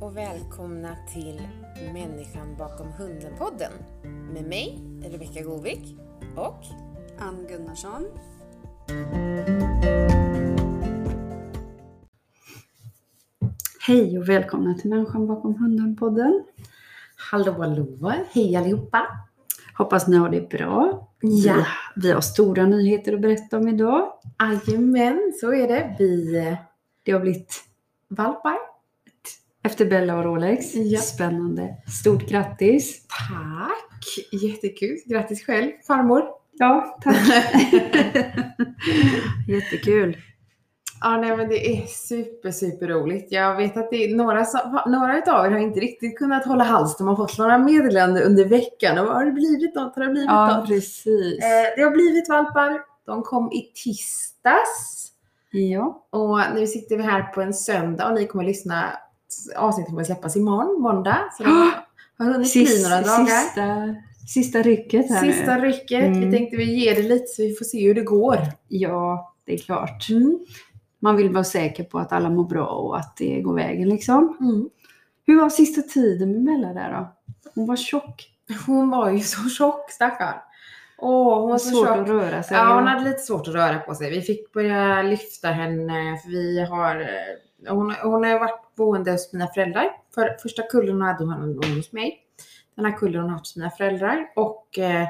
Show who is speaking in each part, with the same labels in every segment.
Speaker 1: och välkomna till Människan bakom hunden-podden med mig, Rebecka Govik och
Speaker 2: Ann Gunnarsson. Hej och välkomna till Människan bakom hunden-podden.
Speaker 1: Hallå hallå, hej allihopa!
Speaker 2: Hoppas ni har det bra. Vi, vi har stora nyheter att berätta om idag.
Speaker 1: Jajamän, så är det. Vi eh,
Speaker 2: Det har blivit
Speaker 1: valpar.
Speaker 2: efter Bella och Rolex.
Speaker 1: Ja.
Speaker 2: Spännande. Stort grattis!
Speaker 1: Tack! Jättekul. Grattis själv, farmor.
Speaker 2: Ja, tack! Jättekul!
Speaker 1: Ja, nej, men det är super, super roligt. Jag vet att det är några, som- några utav er har inte riktigt kunnat hålla hals. De har fått några meddelanden under veckan. Och har det blivit något? Har det blivit
Speaker 2: Ja,
Speaker 1: något?
Speaker 2: precis.
Speaker 1: Eh, det har blivit valpar. De kom i tisdags.
Speaker 2: Ja,
Speaker 1: Och nu sitter vi här på en söndag och ni kommer lyssna. Avsnittet kommer släppas imorgon, måndag. Så det har hunnit bli några dagar.
Speaker 2: sista, sista rycket här nu.
Speaker 1: Sista rycket.
Speaker 2: Mm.
Speaker 1: Vi tänkte vi ger det lite så vi får se hur det går.
Speaker 2: Ja, det är klart.
Speaker 1: Mm.
Speaker 2: Man vill vara säker på att alla mår bra och att det går vägen liksom.
Speaker 1: Mm.
Speaker 2: Hur var sista tiden med Bella där då? Hon var tjock.
Speaker 1: Hon var ju så tjock stackarn. Åh, hon var så
Speaker 2: svårt
Speaker 1: tjock.
Speaker 2: att röra sig.
Speaker 1: Ja, hon hade lite svårt att röra på sig. Vi fick börja lyfta henne för vi har... eh, Hon, hon har ju varit boende hos mina föräldrar. För, första kullen hade hon hon hos mig. Den här kullen har hon haft hos mina föräldrar. Och eh,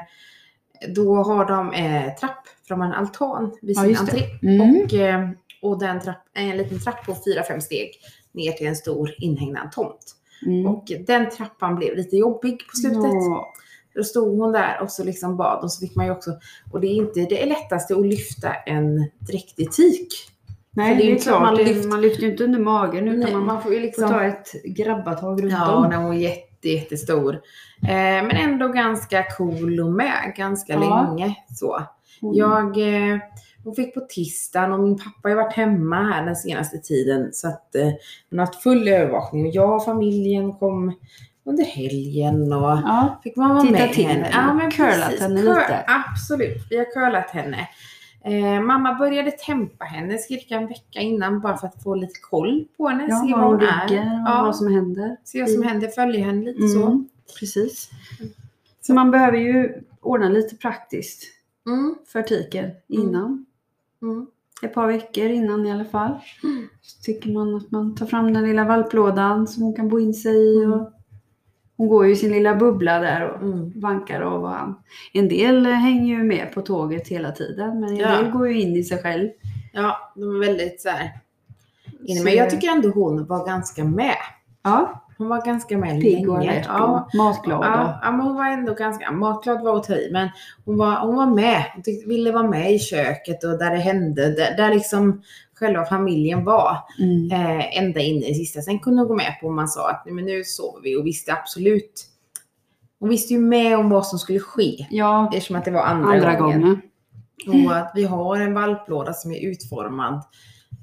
Speaker 1: då har de eh, trapp från en altan vid
Speaker 2: Ja,
Speaker 1: sin
Speaker 2: just det.
Speaker 1: entré.
Speaker 2: Mm.
Speaker 1: Och, eh, och den trapp, en liten trapp på fyra fem steg ner till en stor inhägnad tomt.
Speaker 2: Mm.
Speaker 1: Och den trappan blev lite jobbig på slutet.
Speaker 2: Ja.
Speaker 1: Då stod hon där och så liksom bad och så fick man ju också, och det är inte det lättaste att lyfta en dräktig tik.
Speaker 2: Nej,
Speaker 1: För
Speaker 2: det är ju klart. Man, lyft... man lyfter ju inte under magen utan
Speaker 1: Nej,
Speaker 2: man,
Speaker 1: man får ju
Speaker 2: får
Speaker 1: liksom,
Speaker 2: ta ett grabbatag runt
Speaker 1: ja,
Speaker 2: om.
Speaker 1: när hon är jätte, jättestor. Eh, men ändå ganska cool och med ganska
Speaker 2: Ja.
Speaker 1: länge så.
Speaker 2: Hon-
Speaker 1: Jag, eh, hon fick på tisdagen och min pappa har ju varit hemma här den senaste tiden så att eh, hon har haft full övervakning och jag och familjen kom under helgen och
Speaker 2: ja.
Speaker 1: fick man vara
Speaker 2: Titta
Speaker 1: med
Speaker 2: till
Speaker 1: henne.
Speaker 2: henne. Curlat
Speaker 1: precis.
Speaker 2: henne
Speaker 1: Cur-
Speaker 2: lite.
Speaker 1: Absolut, vi har curlat henne. Eh, mamma började tempa henne cirka en vecka innan bara för att få lite koll på henne.
Speaker 2: Ja,
Speaker 1: se
Speaker 2: var
Speaker 1: var
Speaker 2: hon
Speaker 1: hon är.
Speaker 2: ligger och
Speaker 1: Ja.
Speaker 2: vad som händer.
Speaker 1: Se vad som händer, följa henne lite så.
Speaker 2: Mm, Precis. Så man behöver ju ordna lite praktiskt
Speaker 1: Mm,
Speaker 2: för tiken innan.
Speaker 1: mm.
Speaker 2: Ett par veckor innan i alla fall. Så tycker man att man tar fram den lilla valplådan som hon kan bo in sig i. Och hon går ju i sin lilla bubbla där och
Speaker 1: Mm.
Speaker 2: vankar av och an. En del hänger ju med på tåget hela tiden men en
Speaker 1: Ja.
Speaker 2: del går ju in i sig själv.
Speaker 1: Ja, de är väldigt så här inne.
Speaker 2: Så-
Speaker 1: Men jag tycker ändå hon var ganska med.
Speaker 2: Ja,
Speaker 1: Hon var ganska med
Speaker 2: pigg och
Speaker 1: länge.
Speaker 2: alert
Speaker 1: Ja,
Speaker 2: och matglad.
Speaker 1: Ja, ja, men hon var ändå ganska, matglad var att ta i, men hon var, hon var med. Hon tyckte, ville vara med i köket och där det hände, där, där liksom själva familjen var.
Speaker 2: och- Mm.
Speaker 1: Eh, ända in i det sista. Sen kunde hon gå med på om man sa att Nej, men nu sover vi och visste absolut. Hon visste ju med om vad som skulle ske.
Speaker 2: Ja,
Speaker 1: Eftersom att det var andra,
Speaker 2: andra
Speaker 1: gången.
Speaker 2: gången.
Speaker 1: Och att vi har en valplåda som är utformad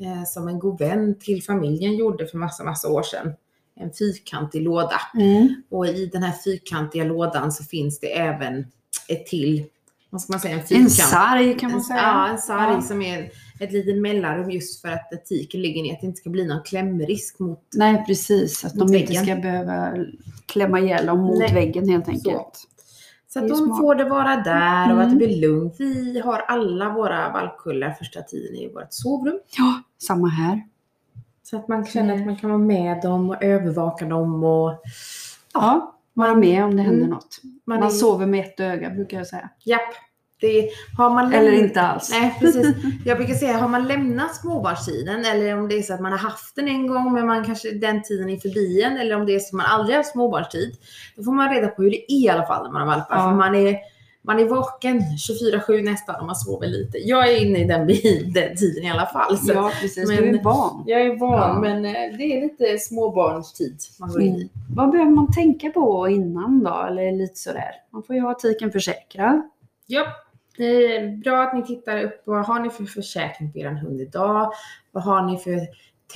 Speaker 1: eh, som en god vän till familjen gjorde för massa, massa år sedan. En fyrkantig låda.
Speaker 2: Mm.
Speaker 1: Och i den här fyrkantiga lådan så finns det även ett till, vad ska man säga, en
Speaker 2: En
Speaker 1: fyrkant.
Speaker 2: sarg kan man
Speaker 1: En-
Speaker 2: säga.
Speaker 1: Ja, en sarg
Speaker 2: Ja.
Speaker 1: som är ett litet mellanrum just för att etiken ligger ner, att det inte ska bli någon klämrisk mot
Speaker 2: Nej, precis. Att
Speaker 1: Mot
Speaker 2: de inte
Speaker 1: väggen.
Speaker 2: ska behöva klämma ihjäl dem mot
Speaker 1: Nej.
Speaker 2: väggen helt enkelt.
Speaker 1: Så att
Speaker 2: Det är
Speaker 1: de
Speaker 2: smart.
Speaker 1: får det vara där och att det
Speaker 2: Mm.
Speaker 1: blir lugnt. Vi har alla våra valpkullar första tiden i vårt sovrum.
Speaker 2: Ja, samma här.
Speaker 1: Så att man känner
Speaker 2: Mm.
Speaker 1: att man kan vara med dem och övervaka dem och
Speaker 2: Ja, vara med om det händer
Speaker 1: Mm.
Speaker 2: något.
Speaker 1: man,
Speaker 2: Man
Speaker 1: är-
Speaker 2: sover med ett öga brukar jag säga.
Speaker 1: Japp. Det har man
Speaker 2: Eller
Speaker 1: lämnat-
Speaker 2: inte alls.
Speaker 1: Nej, precis. Jag brukar säga, har man lämnat småbarnstiden eller om det är så att man har haft den en gång men man kanske den tiden är förbi en eller om det är så att man aldrig har haft småbarnstid. Då får man reda på hur det är i alla fall när man har valpar.
Speaker 2: Ja.
Speaker 1: För man är, man är vaken 24-7 nästan om man sover lite. Jag är inne i den, bi- den tiden i alla fall. Så
Speaker 2: Ja, precis.
Speaker 1: alltså, Men-
Speaker 2: Du är barn.
Speaker 1: Jag är van
Speaker 2: Ja.
Speaker 1: men eh, det är lite småbarnstid man går in i.
Speaker 2: Mm. Vad behöver man tänka på innan då? Eller lite sådär. Man får ju ha tiken försäkrad.
Speaker 1: Ja, det är Eh, bra att ni tittar upp vad har ni för försäkring på er hund idag? Vad har ni för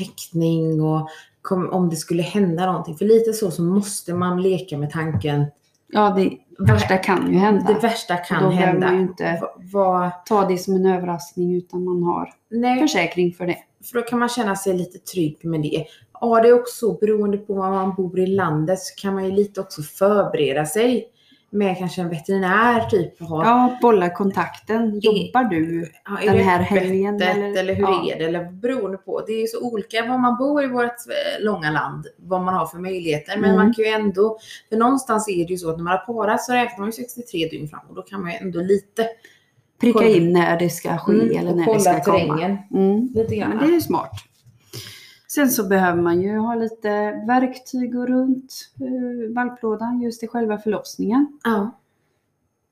Speaker 1: täckning och kom, om det skulle hända någonting? För lite så så måste man leka med tanken.
Speaker 2: Ja, det värsta kan ju hända.
Speaker 1: Det värsta
Speaker 2: Och då
Speaker 1: kan
Speaker 2: behöver man ju
Speaker 1: hända.
Speaker 2: inte
Speaker 1: Va- Vad,
Speaker 2: ta det som en överraskning utan man har
Speaker 1: nej,
Speaker 2: försäkring för det.
Speaker 1: för då kan man känna sig lite trygg med det. Ja, det är också beroende på var man bor i landet så kan man ju lite också förbereda sig med kanske en veterinär typ. Ha,
Speaker 2: Ja, bolla kontakten. Jobbar du?
Speaker 1: ja,
Speaker 2: den
Speaker 1: det
Speaker 2: här
Speaker 1: öppet
Speaker 2: helgen, eller-
Speaker 1: Eller, hur
Speaker 2: ja.
Speaker 1: är det? Eller beroende på. Det är ju så olika var man bor i vårt eh, långa land. Vad man har för möjligheter. Men
Speaker 2: Mm.
Speaker 1: man kan ju ändå. För någonstans är det ju så att när man har parat så räknar man ju 63 dygn fram. Och då kan man ju ändå lite.
Speaker 2: Pricka
Speaker 1: Kolla.
Speaker 2: in när det ska ske
Speaker 1: Mm,
Speaker 2: eller
Speaker 1: och
Speaker 2: när det
Speaker 1: kolla
Speaker 2: ska komma.
Speaker 1: terrängen
Speaker 2: Mm.
Speaker 1: lite
Speaker 2: Ja,
Speaker 1: grann.
Speaker 2: men det är ju smart. Sen så behöver man ju ha lite verktyg och runt eh, valplådan just i själva förlossningen.
Speaker 1: Ja.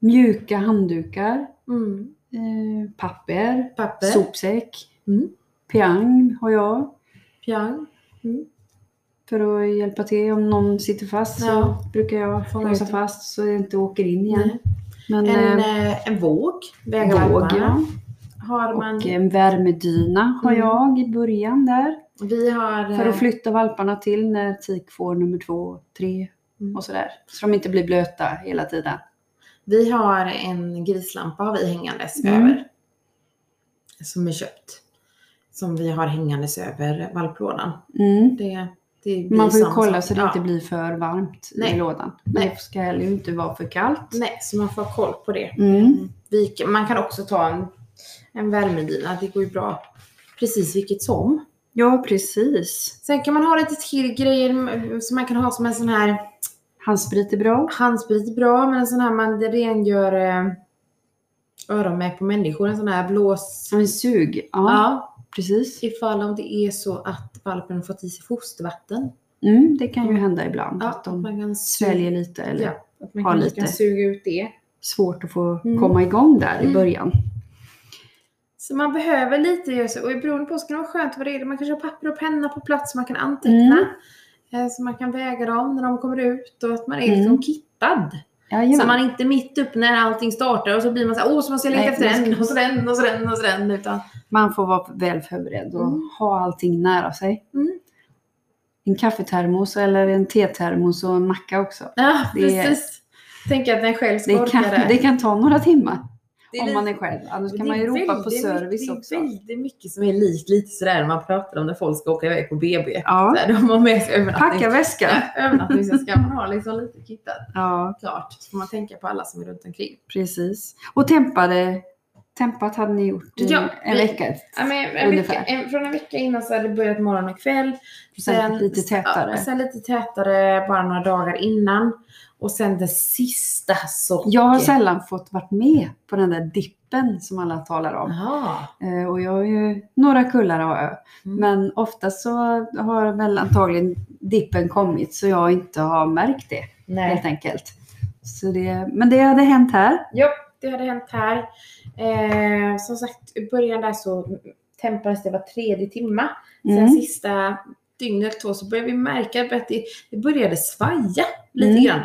Speaker 2: Mjuka handdukar,
Speaker 1: Mm.
Speaker 2: eh, papper,
Speaker 1: Papper.
Speaker 2: sopsäck,
Speaker 1: Mm.
Speaker 2: piang har jag
Speaker 1: Fjärn.
Speaker 2: för att hjälpa till. Om någon sitter fast
Speaker 1: Ja.
Speaker 2: så brukar jag
Speaker 1: Fånga
Speaker 2: låsa
Speaker 1: ut det.
Speaker 2: fast så jag inte åker in igen.
Speaker 1: Nej.
Speaker 2: Men
Speaker 1: En,
Speaker 2: eh,
Speaker 1: eh, en våg.
Speaker 2: våg
Speaker 1: Vägvalparna.
Speaker 2: ja.
Speaker 1: Har man.
Speaker 2: och eh, en värmedyna har
Speaker 1: Mm.
Speaker 2: jag i början där.
Speaker 1: vi har.
Speaker 2: För
Speaker 1: eh,
Speaker 2: att flytta valparna till när tik får nummer två, tre
Speaker 1: Mm.
Speaker 2: och sådär. Så de inte blir blöta hela tiden.
Speaker 1: Vi har en grislampa har vi hängandes
Speaker 2: Mm.
Speaker 1: över. Som är köpt. Som vi har hängandes över valplådan.
Speaker 2: Mm.
Speaker 1: Det, det blir
Speaker 2: Man får ju
Speaker 1: samma
Speaker 2: kolla
Speaker 1: sak.
Speaker 2: så det
Speaker 1: Ja.
Speaker 2: inte blir för varmt i
Speaker 1: Nej.
Speaker 2: lådan.
Speaker 1: Nej.
Speaker 2: Det ska heller inte vara för kallt.
Speaker 1: Nej, så man får ha koll på det.
Speaker 2: Mm.
Speaker 1: Vi, kan- man kan också ta en, en värmedyna. Det går ju bra precis vilket som.
Speaker 2: Ja, precis.
Speaker 1: Sen kan man ha lite till grejer som man kan ha som en sån här
Speaker 2: Handsprit är bra.
Speaker 1: handsprit är bra, men en sån här man rengör eh, öron med på människor. En sån här blås...
Speaker 2: Ja, En sug. Ja,
Speaker 1: Ja,
Speaker 2: precis.
Speaker 1: Ifall om det är så att valpen har fått i sig fostervatten.
Speaker 2: Mm, det kan ju hända ibland
Speaker 1: Ja,
Speaker 2: att de
Speaker 1: man kan su-
Speaker 2: sväljer lite eller
Speaker 1: Ja, att man
Speaker 2: har
Speaker 1: kan,
Speaker 2: lite.
Speaker 1: kan suga ut det.
Speaker 2: svårt att få
Speaker 1: Mm.
Speaker 2: komma igång där i
Speaker 1: Mm.
Speaker 2: början.
Speaker 1: Så man behöver lite göra så. Och beroende på så kan det vara skönt vad det är. Man kanske har papper och penna på plats så man kan
Speaker 2: Mm.
Speaker 1: anteckna. Eh, Så man kan väga dem när de kommer ut och att man är liksom
Speaker 2: Mm.
Speaker 1: kittad. Så
Speaker 2: Jajamän.
Speaker 1: man är inte mitt upp när allting startar och så blir man så här, åh så måste jag leta
Speaker 2: Nej,
Speaker 1: efter
Speaker 2: man ska-
Speaker 1: den och så den och så den och så den. Utan
Speaker 2: Man får vara väl förberedd och
Speaker 1: Mm.
Speaker 2: ha allting nära sig.
Speaker 1: Mm.
Speaker 2: En kaffetermos eller en tetermos och en macka också.
Speaker 1: ja,
Speaker 2: Det är-
Speaker 1: precis. Tänker att den själv ska
Speaker 2: Det
Speaker 1: orka
Speaker 2: kan, det kan ta några timmar
Speaker 1: Det är
Speaker 2: om
Speaker 1: lite-
Speaker 2: man är själv. Annars
Speaker 1: Det
Speaker 2: kan
Speaker 1: är
Speaker 2: man ju ropa på
Speaker 1: väldigt
Speaker 2: service
Speaker 1: mycket,
Speaker 2: också.
Speaker 1: Det är väldigt mycket som är likt lite sådär när man pratar om när folk ska åka iväg på BB.
Speaker 2: Ja,
Speaker 1: Såhär, de har med sig övernattning.
Speaker 2: packa väskan.
Speaker 1: Ja, övernattning så ska man ha liksom lite kittat.
Speaker 2: Ja,
Speaker 1: Klart. Så får man tänka på alla som är runt omkring.
Speaker 2: precis. Och tempade, tempat hade ni gjort i
Speaker 1: Ja,
Speaker 2: en
Speaker 1: vi-
Speaker 2: vecka.
Speaker 1: Ja, men en vecka,
Speaker 2: Ungefär.
Speaker 1: en, från en vecka innan så hade det börjat morgon och kväll.
Speaker 2: Sen lite
Speaker 1: Ja,
Speaker 2: tätare.
Speaker 1: sen lite tätare bara några dagar innan. Och sen den sista så.
Speaker 2: Jag har sällan fått varit med på den där dippen som alla talar om.
Speaker 1: Jaha.
Speaker 2: Eh, Och jag har ju några kullar har jag.
Speaker 1: Mm.
Speaker 2: Men ofta så har väl antagligen dippen kommit så jag inte har märkt det
Speaker 1: Nej.
Speaker 2: helt enkelt. Så det, men det hade hänt här.
Speaker 1: Ja, det hade hänt här. Eh, som sagt, i början där så tempades det var tredje timma. Sen
Speaker 2: Mm.
Speaker 1: sista dygnet två så började vi märka att det, det började svaja lite
Speaker 2: Mm.
Speaker 1: grann.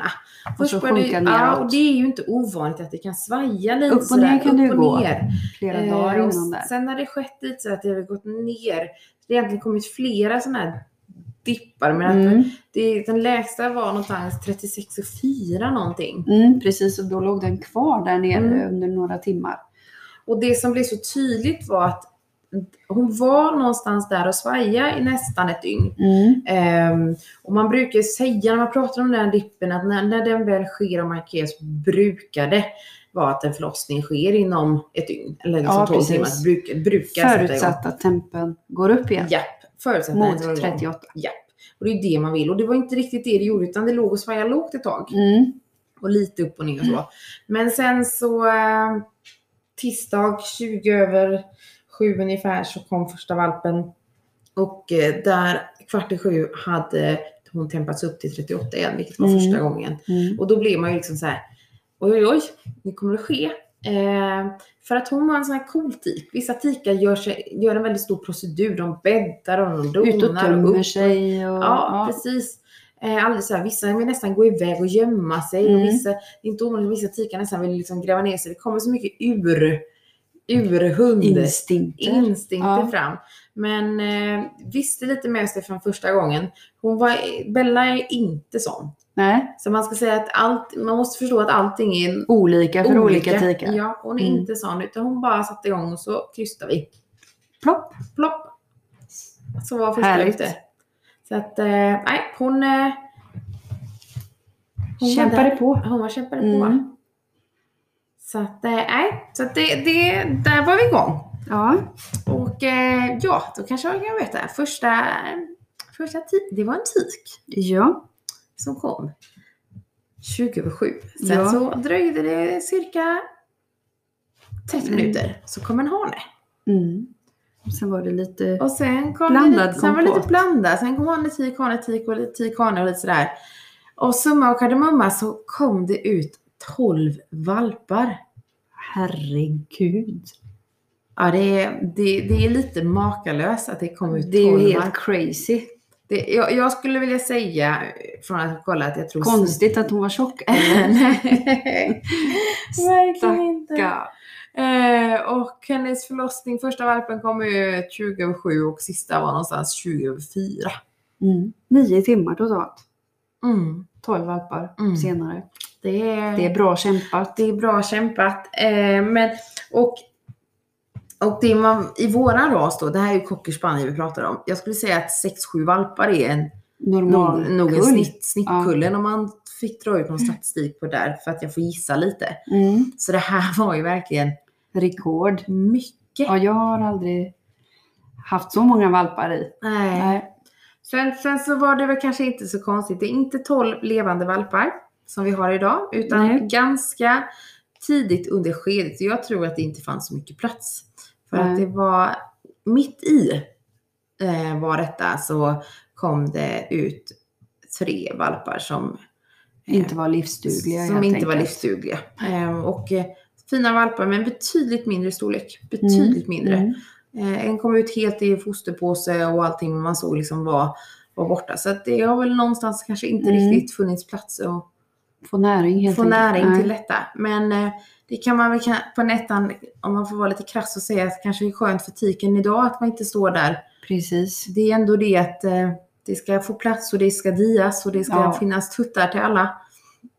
Speaker 2: så
Speaker 1: började,
Speaker 2: sjunka
Speaker 1: ja,
Speaker 2: neråt.
Speaker 1: och det är ju inte ovanligt att det kan svaja lite
Speaker 2: Upp och
Speaker 1: sådär,
Speaker 2: ner kan det ju
Speaker 1: upp
Speaker 2: gå.
Speaker 1: och ner.
Speaker 2: Flera
Speaker 1: Eh,
Speaker 2: dagar
Speaker 1: och
Speaker 2: innan där.
Speaker 1: sen har det skett lite så att det har gått ner. Det har egentligen kommit flera sådana här dippar men att
Speaker 2: Mm.
Speaker 1: det, den lägsta var någonstans 36 och 4 någonting.
Speaker 2: Mm, precis, och då låg den kvar där nere
Speaker 1: Mm.
Speaker 2: under några timmar.
Speaker 1: Och det som blev så tydligt var att hon var någonstans där och svaja i nästan ett dygn.
Speaker 2: Mm.
Speaker 1: Ehm, och man brukar ju säga när man pratar om den här dippen att när, när den väl sker och markeras brukar det vara att en förlossning sker inom ett dygn. Eller liksom
Speaker 2: Ja,
Speaker 1: 12
Speaker 2: precis.
Speaker 1: timmar. Bruk, brukar sätta
Speaker 2: Förutsatt att tempen går upp
Speaker 1: igång.
Speaker 2: igen
Speaker 1: Japp. Förutsatt när den drar
Speaker 2: mot
Speaker 1: igång.
Speaker 2: 38.
Speaker 1: Och det är ju det man vill. Och det var inte riktigt det det gjorde utan det låg och svajade lågt ett tag.
Speaker 2: Mm.
Speaker 1: Och lite upp och ner och så. Men sen så eh, tisdag 20 över sju ungefär så kom första valpen. Och eh, där kvart i sju hade hon tempats upp till 38 igen, vilket var
Speaker 2: Mm.
Speaker 1: första gången.
Speaker 2: Mm.
Speaker 1: Och då blev man ju liksom så här, oj oj oj, nu kommer det ske. Eh, för att hon var en sån här cool tik. Vissa tikar gör, sig, gör en väldigt stor procedur. De bäddar och de donar.
Speaker 2: Ut och
Speaker 1: upp
Speaker 2: tömmer
Speaker 1: och-
Speaker 2: sig. Och,
Speaker 1: Ja,
Speaker 2: ja.
Speaker 1: precis. Eh, alldeles så här, vissa vill nästan gå iväg och gömma sig.
Speaker 2: Mm.
Speaker 1: Och vissa, det är inte ovanligt, vissa tikar nästan vill liksom gräva ner sig. Det kommer så mycket ur, urhund
Speaker 2: Instinkter.
Speaker 1: instinkter
Speaker 2: Ja.
Speaker 1: fram. Men eh, visste lite med sig från första gången. Hon var, Bella är inte sån.
Speaker 2: Nej,
Speaker 1: Så man ska säga att allt, man måste förstå att allting är en-
Speaker 2: olika för olika, tikar.
Speaker 1: Ja, hon är
Speaker 2: Mm.
Speaker 1: inte sån. Utan hon bara satte igång och så krystar vi.
Speaker 2: Plopp.
Speaker 1: Plopp! Så var första
Speaker 2: Härligt.
Speaker 1: ute. Så att, eh, nej, hon... Eh, hon var
Speaker 2: Kämpade
Speaker 1: där.
Speaker 2: på.
Speaker 1: Hon var kämpade på.
Speaker 2: Mm.
Speaker 1: Så att, eh, nej, så att det, det, där var vi igång.
Speaker 2: Ja.
Speaker 1: Och eh, ja, då kanske jag kan veta. Första, första ti- det var en tik
Speaker 2: Ja.
Speaker 1: som kom 2007. Sen
Speaker 2: Ja.
Speaker 1: så dröjde det cirka 30
Speaker 2: Mm.
Speaker 1: minuter så kom en hane.
Speaker 2: Mm. Och sen var det lite...
Speaker 1: Och sen kom det
Speaker 2: Blandad
Speaker 1: lite, sen var det lite
Speaker 2: kompott.
Speaker 1: blandat. Sen kom hane, tik, hane, tik och lite tik, hane och lite sådär. Och summa och kardemumma så kom det ut 12 valpar.
Speaker 2: Herregud.
Speaker 1: Ja, det är, det, det är lite makalöst att det kom ut
Speaker 2: Det är ju
Speaker 1: 12
Speaker 2: helt
Speaker 1: valpar.
Speaker 2: crazy.
Speaker 1: Det, jag, jag skulle vilja säga eh, från att ha kollat, jag tror...
Speaker 2: Konstigt att hon var tjock.
Speaker 1: Nej, verkligen inte.
Speaker 2: Ja.
Speaker 1: Eh, och hennes förlossning, första valpen kom ju 2007 och sista var någonstans 2004.
Speaker 2: Mm. Nio timmar totalt.
Speaker 1: Mm.
Speaker 2: Tolv valpar
Speaker 1: Mm.
Speaker 2: senare.
Speaker 1: Det, är,
Speaker 2: Det är bra kämpat.
Speaker 1: det är bra kämpat. Eh, men, och och det man, i våran ras då, det här är ju cocker spaniel vi pratar om. Jag skulle säga att 6-7 valpar är en
Speaker 2: Normal
Speaker 1: nog, nog en
Speaker 2: kull.
Speaker 1: snitt, snittkullen om man fick dra ut någon statistik på det där för att jag får gissa lite.
Speaker 2: Mm.
Speaker 1: Så det här var ju verkligen
Speaker 2: Rekord.
Speaker 1: mycket.
Speaker 2: Ja, jag har aldrig haft så många valpar i.
Speaker 1: Nej.
Speaker 2: Nej.
Speaker 1: Sen, sen så var det väl kanske inte så konstigt. Det är inte 12 levande valpar som vi har idag utan
Speaker 2: Nej.
Speaker 1: ganska tidigt under skedet. Så Jag tror att det inte fanns så mycket plats. För att
Speaker 2: Nej.
Speaker 1: det var mitt i eh, var detta så kom det ut tre valpar som eh,
Speaker 2: Inte var livsdugliga
Speaker 1: Som
Speaker 2: helt
Speaker 1: inte var
Speaker 2: enkelt.
Speaker 1: livsdugliga. Ehm, och eh, fina valpar men betydligt mindre storlek. Betydligt mindre.
Speaker 2: Mm.
Speaker 1: Eh, en kom ut helt i fosterpåse och allting man såg liksom var, var borta. Så att det har väl någonstans kanske inte
Speaker 2: Mm.
Speaker 1: riktigt funnits plats att
Speaker 2: Få näring helt
Speaker 1: få
Speaker 2: enkelt.
Speaker 1: näring
Speaker 2: Nej.
Speaker 1: till detta. Men eh, det kan man väl kan- på nättan, om man får vara lite krass och säga att kanske det är skönt för tiken idag att man inte står där.
Speaker 2: Precis.
Speaker 1: Det är ändå det att eh, det ska få plats och det ska dias och det ska
Speaker 2: Ja.
Speaker 1: finnas tuttar till alla.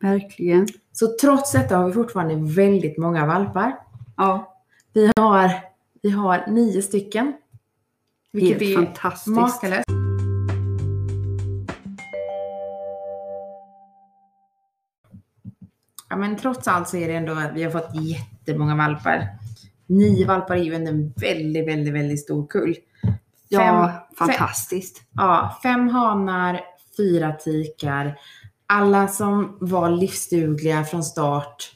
Speaker 2: Verkligen.
Speaker 1: Så trots detta har vi fortfarande väldigt många valpar.
Speaker 2: Ja.
Speaker 1: Vi har, vi har nio stycken. Vilket
Speaker 2: Helt
Speaker 1: är
Speaker 2: fantastiskt.
Speaker 1: makalöst. Ja, men trots allt så är det ändå att vi har fått jättemånga valpar. Nio valpar är ju ändå en väldigt, väldigt, väldigt stor kull. Fem-
Speaker 2: Ja, fantastiskt.
Speaker 1: Ja, fem hanar, fyra tikar. Alla som var livsdugliga från start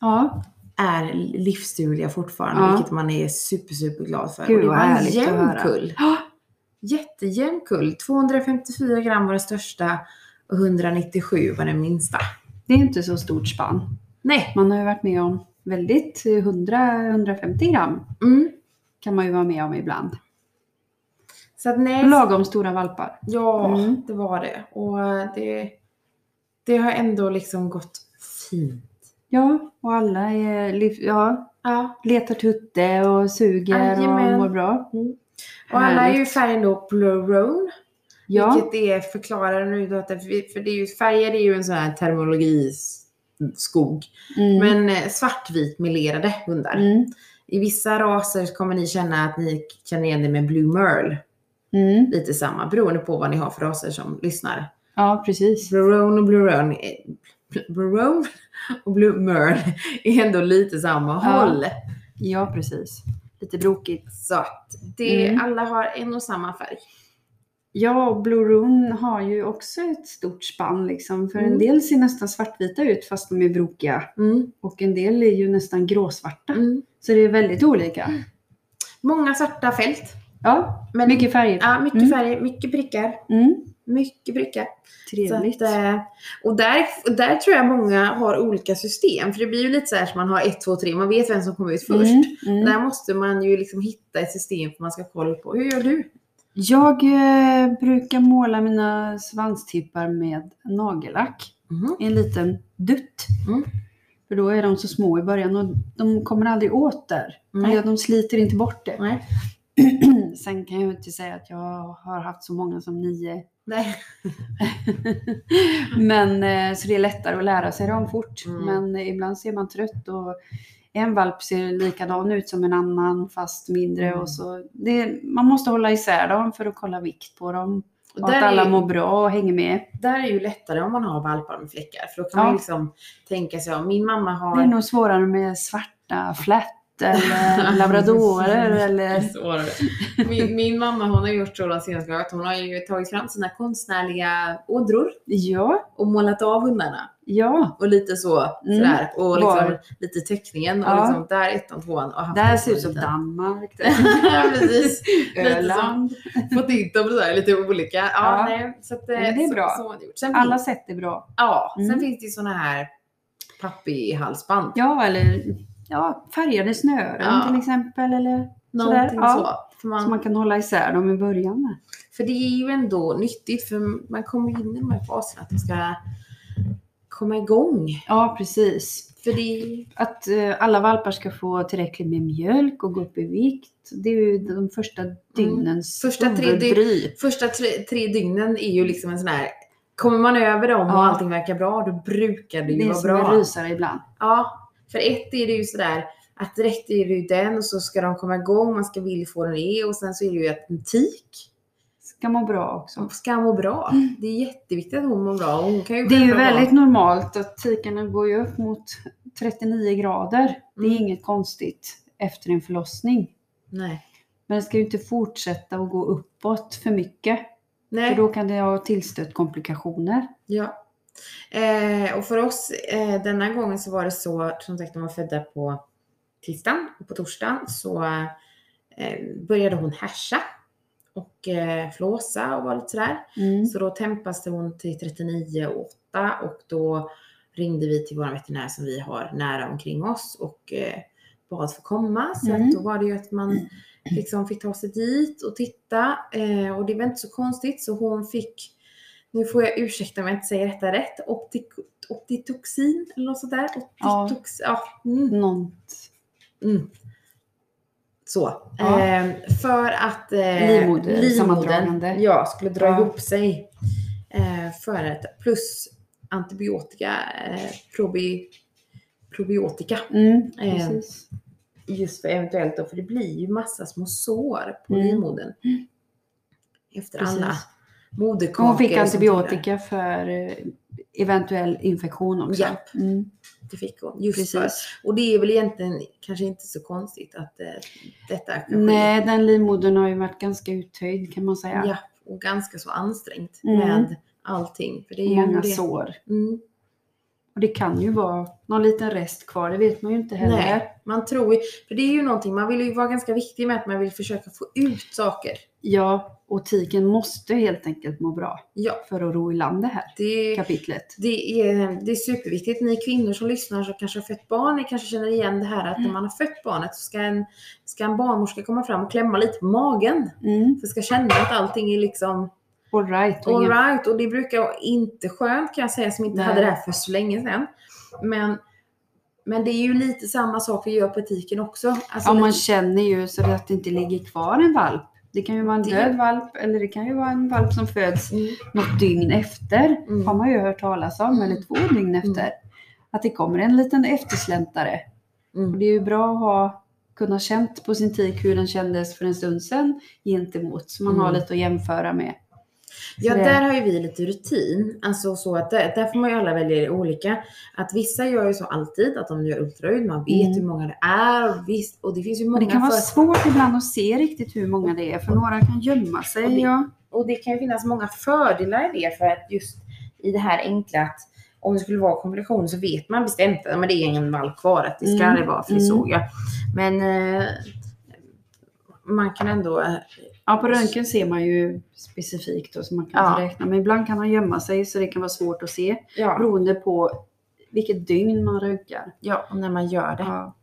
Speaker 2: Ja.
Speaker 1: är livsdugliga fortfarande,
Speaker 2: Ja.
Speaker 1: vilket man är super, super glad för.
Speaker 2: Gud,
Speaker 1: och det
Speaker 2: vad
Speaker 1: var en
Speaker 2: härligt att
Speaker 1: jämn
Speaker 2: höra.
Speaker 1: kull.
Speaker 2: Ja.
Speaker 1: Jättejämn kull. 254 gram var den största och 197 var den minsta.
Speaker 2: Det är inte så stort spann.
Speaker 1: Nej.
Speaker 2: Man har ju varit med om väldigt 100-150 gram
Speaker 1: Mm.
Speaker 2: kan man ju vara med om ibland.
Speaker 1: Så att nej.
Speaker 2: Lagom stora valpar.
Speaker 1: Ja,
Speaker 2: Mm.
Speaker 1: det var det. Och eh, det, det har ändå liksom gått fint.
Speaker 2: Ja, och alla är liv, ja,
Speaker 1: Ja.
Speaker 2: letar tutte och suger
Speaker 1: Jajamän. Mm.
Speaker 2: och mår bra.
Speaker 1: Och alla är ju
Speaker 2: Härligt.
Speaker 1: färgen då Blue Roan.
Speaker 2: Ja,
Speaker 1: Vilket det förklarar nu då att det, för det är ju, färger är ju en sån här terminologiskog.
Speaker 2: mm.
Speaker 1: Men eh, svartvit melerade hundar.
Speaker 2: Mm.
Speaker 1: I vissa raser kommer ni känna att ni känner igen det med Blue Merle.
Speaker 2: Mm.
Speaker 1: Lite samma beroende på vad ni har för raser som lyssnar.
Speaker 2: Ja, precis.
Speaker 1: Blue Roan och Blue Roan. eh, Blue Roan och Blue Merle är ändå lite samma
Speaker 2: Ja.
Speaker 1: håll.
Speaker 2: Ja, precis. Lite brokigt.
Speaker 1: Så att det,
Speaker 2: Mm.
Speaker 1: alla har en och samma färg.
Speaker 2: Ja, och Blue Roon har ju också ett stort spann liksom. För
Speaker 1: Mm.
Speaker 2: en del ser nästan svartvita ut fast de är brokiga.
Speaker 1: Mm.
Speaker 2: Och en del är ju nästan gråsvarta.
Speaker 1: Mm.
Speaker 2: Så det är väldigt olika.
Speaker 1: Många svarta fält.
Speaker 2: Ja,
Speaker 1: Men,
Speaker 2: mycket färger.
Speaker 1: ja, mycket
Speaker 2: Mm.
Speaker 1: färger, mycket prickar.
Speaker 2: Mm.
Speaker 1: Mycket prickar. Så
Speaker 2: Trevligt.
Speaker 1: att,
Speaker 2: Mm.
Speaker 1: eh, och där, och där tror jag många har olika system. För det blir ju lite så här som man har 1, 2, 3. Man vet vem som kommer ut först.
Speaker 2: Mm. Mm.
Speaker 1: Där måste man ju liksom hitta ett system för man ska ha koll på. Hur gör du?
Speaker 2: Jag eh, brukar måla mina svanstippar med nagellack.
Speaker 1: Mhm.
Speaker 2: i en liten dutt.
Speaker 1: Mm.
Speaker 2: För då är de så små i början och de kommer aldrig åt där.
Speaker 1: Nej.
Speaker 2: Eller de sliter inte bort det.
Speaker 1: Mm. Nej.
Speaker 2: Sen kan jag ju inte säga att jag har haft så många som nio.
Speaker 1: Nej.
Speaker 2: Men, eh, så det är lättare att lära sig dem fort.
Speaker 1: Mm.
Speaker 2: Men eh, ibland ser man trött och en valp ser likadan ut som en annan fast mindre.
Speaker 1: Mm.
Speaker 2: Och så det, man måste hålla isär dem för att kolla vikt på dem. Och att
Speaker 1: där
Speaker 2: alla
Speaker 1: är-
Speaker 2: mår bra och hänger med.
Speaker 1: Där är ju lättare om man har valpar med fläckar. För då kan man
Speaker 2: Ja.
Speaker 1: liksom tänka sig, ja, min mamma har...
Speaker 2: Det är nog svårare med svarta flätt eller labradorer eller...
Speaker 1: Så är det. Min, min mamma hon har gjort så de senaste gångerna att hon har ju tagit fram sina konstnärliga ådror
Speaker 2: Ja,
Speaker 1: och målat av hundarna.
Speaker 2: ja.
Speaker 1: Och lite så,
Speaker 2: Mm.
Speaker 1: sådär. Och liksom
Speaker 2: Var?
Speaker 1: lite teckningen och
Speaker 2: Ja.
Speaker 1: liksom där ettan, tvåan. Och haft
Speaker 2: Det här
Speaker 1: en
Speaker 2: ser ut
Speaker 1: sån
Speaker 2: som
Speaker 1: liten-
Speaker 2: Danmark.
Speaker 1: Ja, precis. Lite som,
Speaker 2: Öland.
Speaker 1: fått titta på det där lite olika. Ja,
Speaker 2: Ja.
Speaker 1: Nej, så att, eh,
Speaker 2: Men det är bra.
Speaker 1: Så, så har det gjort. Sen,
Speaker 2: Alla sätt är bra.
Speaker 1: Ja, sen
Speaker 2: Mm.
Speaker 1: finns det ju såna här pappi-halsband.
Speaker 2: Ja, eller ja, färgade snören
Speaker 1: Ja.
Speaker 2: till exempel. Eller,
Speaker 1: Någonting
Speaker 2: Sådär,
Speaker 1: så. För,
Speaker 2: Så
Speaker 1: man,
Speaker 2: man kan hålla isär dem i början. Med.
Speaker 1: för det är ju ändå nyttigt för man kommer ju in i de här faserna att de ska komma igång.
Speaker 2: Ja, precis.
Speaker 1: För det
Speaker 2: Att eh, alla valpar ska få tillräckligt med mjölk och gå upp i vikt. Det är ju de första dygnens
Speaker 1: Mm. Första tre dygn-
Speaker 2: huvudbry.
Speaker 1: första tre, tre dygnen är ju liksom en sån här Kommer man över dem och
Speaker 2: Ja.
Speaker 1: allting verkar bra, då brukar det ju
Speaker 2: Det är
Speaker 1: vara
Speaker 2: som
Speaker 1: bra.
Speaker 2: en rysare ibland.
Speaker 1: Ja, för ett är det ju sådär att direkt är det ju den och så ska de komma igång, man ska vilja få den är och sen så är det ju att en tik
Speaker 2: Ska må bra också.
Speaker 1: som ska må bra. Det är jätteviktigt att hon mår bra och hon kan ju
Speaker 2: Mm. Det är ju
Speaker 1: själv må bra.
Speaker 2: väldigt normalt att tikarna går ju upp mot 39 grader. Det är
Speaker 1: Mm.
Speaker 2: inget konstigt efter en förlossning.
Speaker 1: Nej.
Speaker 2: Men det ska ju inte fortsätta att gå uppåt för mycket.
Speaker 1: Nej.
Speaker 2: För då kan det ha tillstött komplikationer.
Speaker 1: Ja. Eh, och för oss eh, denna gången så var det så, som sagt de var födda på tisdagen och på torsdagen så eh, började hon härsa och eh, flåsa och var lite sådär.
Speaker 2: Mm.
Speaker 1: Så då tempades hon till 39 och 8 och då ringde vi till vår veterinär som vi har nära omkring oss och eh, bad få komma. Så
Speaker 2: Mm.
Speaker 1: att då var det ju att man liksom fick ta sig dit och titta eh, och det var inte så konstigt så hon fick, nu får jag ursäkta om jag inte säger detta rätt, optik, optitoxin eller något sånt där.
Speaker 2: Ja.
Speaker 1: Optitox, ja. mm.
Speaker 2: Något.
Speaker 1: Mm. Så.
Speaker 2: Ja.
Speaker 1: Ehm, för att eh,
Speaker 2: Livmoder- sammandragande.
Speaker 1: ja, skulle dra
Speaker 2: Ja.
Speaker 1: ihop sig. Eh, för att, plus antibiotika, eh, probi, probiotika.
Speaker 2: Mm,
Speaker 1: Eh,
Speaker 2: precis.
Speaker 1: Just för eventuellt då, för det blir ju massa små sår på
Speaker 2: Mm.
Speaker 1: livmodern. Efter alla
Speaker 2: precis.
Speaker 1: moderkakor.
Speaker 2: Hon fick
Speaker 1: och sånt där.
Speaker 2: antibiotika för eh, eventuell infektion också.
Speaker 1: Japp.
Speaker 2: Mm,
Speaker 1: Det fick hon. Just för.
Speaker 2: precis.
Speaker 1: Och det är väl egentligen kanske inte så konstigt att eh, detta kan ske.
Speaker 2: Nej, den livmodern har ju varit ganska uttöjd kan man säga.
Speaker 1: Ja, och ganska så ansträngt
Speaker 2: Mm.
Speaker 1: med allting. För det är ju
Speaker 2: Många
Speaker 1: det.
Speaker 2: sår.
Speaker 1: Mm.
Speaker 2: Och det kan ju vara någon liten rest kvar, det vet man ju inte heller.
Speaker 1: Nej, man tror ju, för det är ju någonting, man vill ju vara ganska viktig med att man vill försöka få ut saker.
Speaker 2: Ja, och tiken måste helt enkelt må bra
Speaker 1: Ja,
Speaker 2: för att ro i land det här
Speaker 1: det,
Speaker 2: kapitlet.
Speaker 1: det, är, det är superviktigt. Ni kvinnor som lyssnar som kanske har fött barn, ni kanske känner igen det här att
Speaker 2: Mm.
Speaker 1: när man har fött barnet så ska en, ska en barnmorska komma fram och klämma lite på magen.
Speaker 2: Mm.
Speaker 1: För ska känna att allting är liksom
Speaker 2: All right. och
Speaker 1: All
Speaker 2: ingen-
Speaker 1: right, och det brukar vara inte skönt kan jag säga som inte
Speaker 2: Nej.
Speaker 1: hade det här för så länge sedan. Men, men det är ju lite samma sak vi gör på etiken också. Alltså,
Speaker 2: Ja, man
Speaker 1: lite-
Speaker 2: känner ju så att det inte ligger kvar en valp. Det kan ju vara en
Speaker 1: Det-
Speaker 2: död valp eller det kan ju vara en valp som föds något dygn efter.
Speaker 1: Mm.
Speaker 2: Har man ju hört talas om, eller två dygn efter. Att det kommer en liten eftersläntare.
Speaker 1: Mm.
Speaker 2: Och
Speaker 1: Mm.
Speaker 2: det är ju bra att ha kunna känt på sin tik hur den kändes för en stund sedan gentemot. Så man har
Speaker 1: Mm.
Speaker 2: lite att jämföra med.
Speaker 1: Ja,
Speaker 2: det-
Speaker 1: där har ju vi lite rutin. Alltså så att där, där får man ju alla välja olika. Att vissa gör ju så alltid, att de gör ultraljud, man vet
Speaker 2: Mm.
Speaker 1: hur många det är. Och, visst, och det finns ju många
Speaker 2: Men det kan vara
Speaker 1: för-
Speaker 2: svårt ibland att se riktigt hur många det är, för några kan gömma
Speaker 1: Och det-
Speaker 2: sig. Ja.
Speaker 1: Och det kan ju finnas många fördelar i det för att just i det här enkla att om det skulle vara komplikationer så vet man bestämt att men det är ingen valp kvar, att det ska
Speaker 2: Mm.
Speaker 1: det vara, för det
Speaker 2: Mm.
Speaker 1: såg jag. Men eh, man kan ändå... eh,
Speaker 2: ja, på röntgen ser man ju specifikt då, så man kan
Speaker 1: Ja.
Speaker 2: inte räkna. Men ibland kan man gömma sig, så det kan vara svårt att se
Speaker 1: Ja,
Speaker 2: beroende på vilket dygn man röntgar.
Speaker 1: ja när man gör det.
Speaker 2: Ja.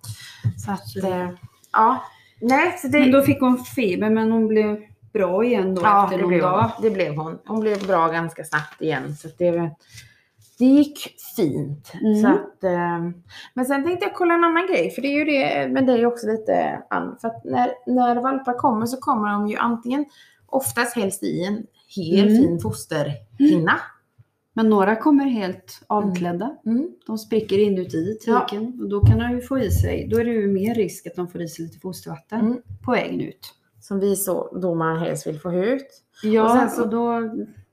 Speaker 1: Så att,
Speaker 2: det-
Speaker 1: eh, ja. Nej, så det,
Speaker 2: Men då fick hon feber, men hon blev bra igen då
Speaker 1: ja,
Speaker 2: efter
Speaker 1: det,
Speaker 2: någon
Speaker 1: blev hon.
Speaker 2: dag.
Speaker 1: det blev hon. Hon blev bra ganska snabbt igen. Så att det, det gick fint.
Speaker 2: Mm.
Speaker 1: Så att, eh, men sen tänkte jag kolla en annan grej, för det är ju det, men det är ju också lite an, För att när, när valpar kommer så kommer de ju antingen oftast helst i en hel
Speaker 2: Mm.
Speaker 1: fin fosterhinna.
Speaker 2: Men några kommer helt avklädda.
Speaker 1: Mm.
Speaker 2: De spricker inuti tiken och då kan de ju få i sig, då är det ju mer risk att de får i sig lite fostervatten
Speaker 1: Mm.
Speaker 2: på vägen ut.
Speaker 1: som vi så, då man helst vill få ut.
Speaker 2: Ja,
Speaker 1: Och
Speaker 2: och,
Speaker 1: sen så-
Speaker 2: då,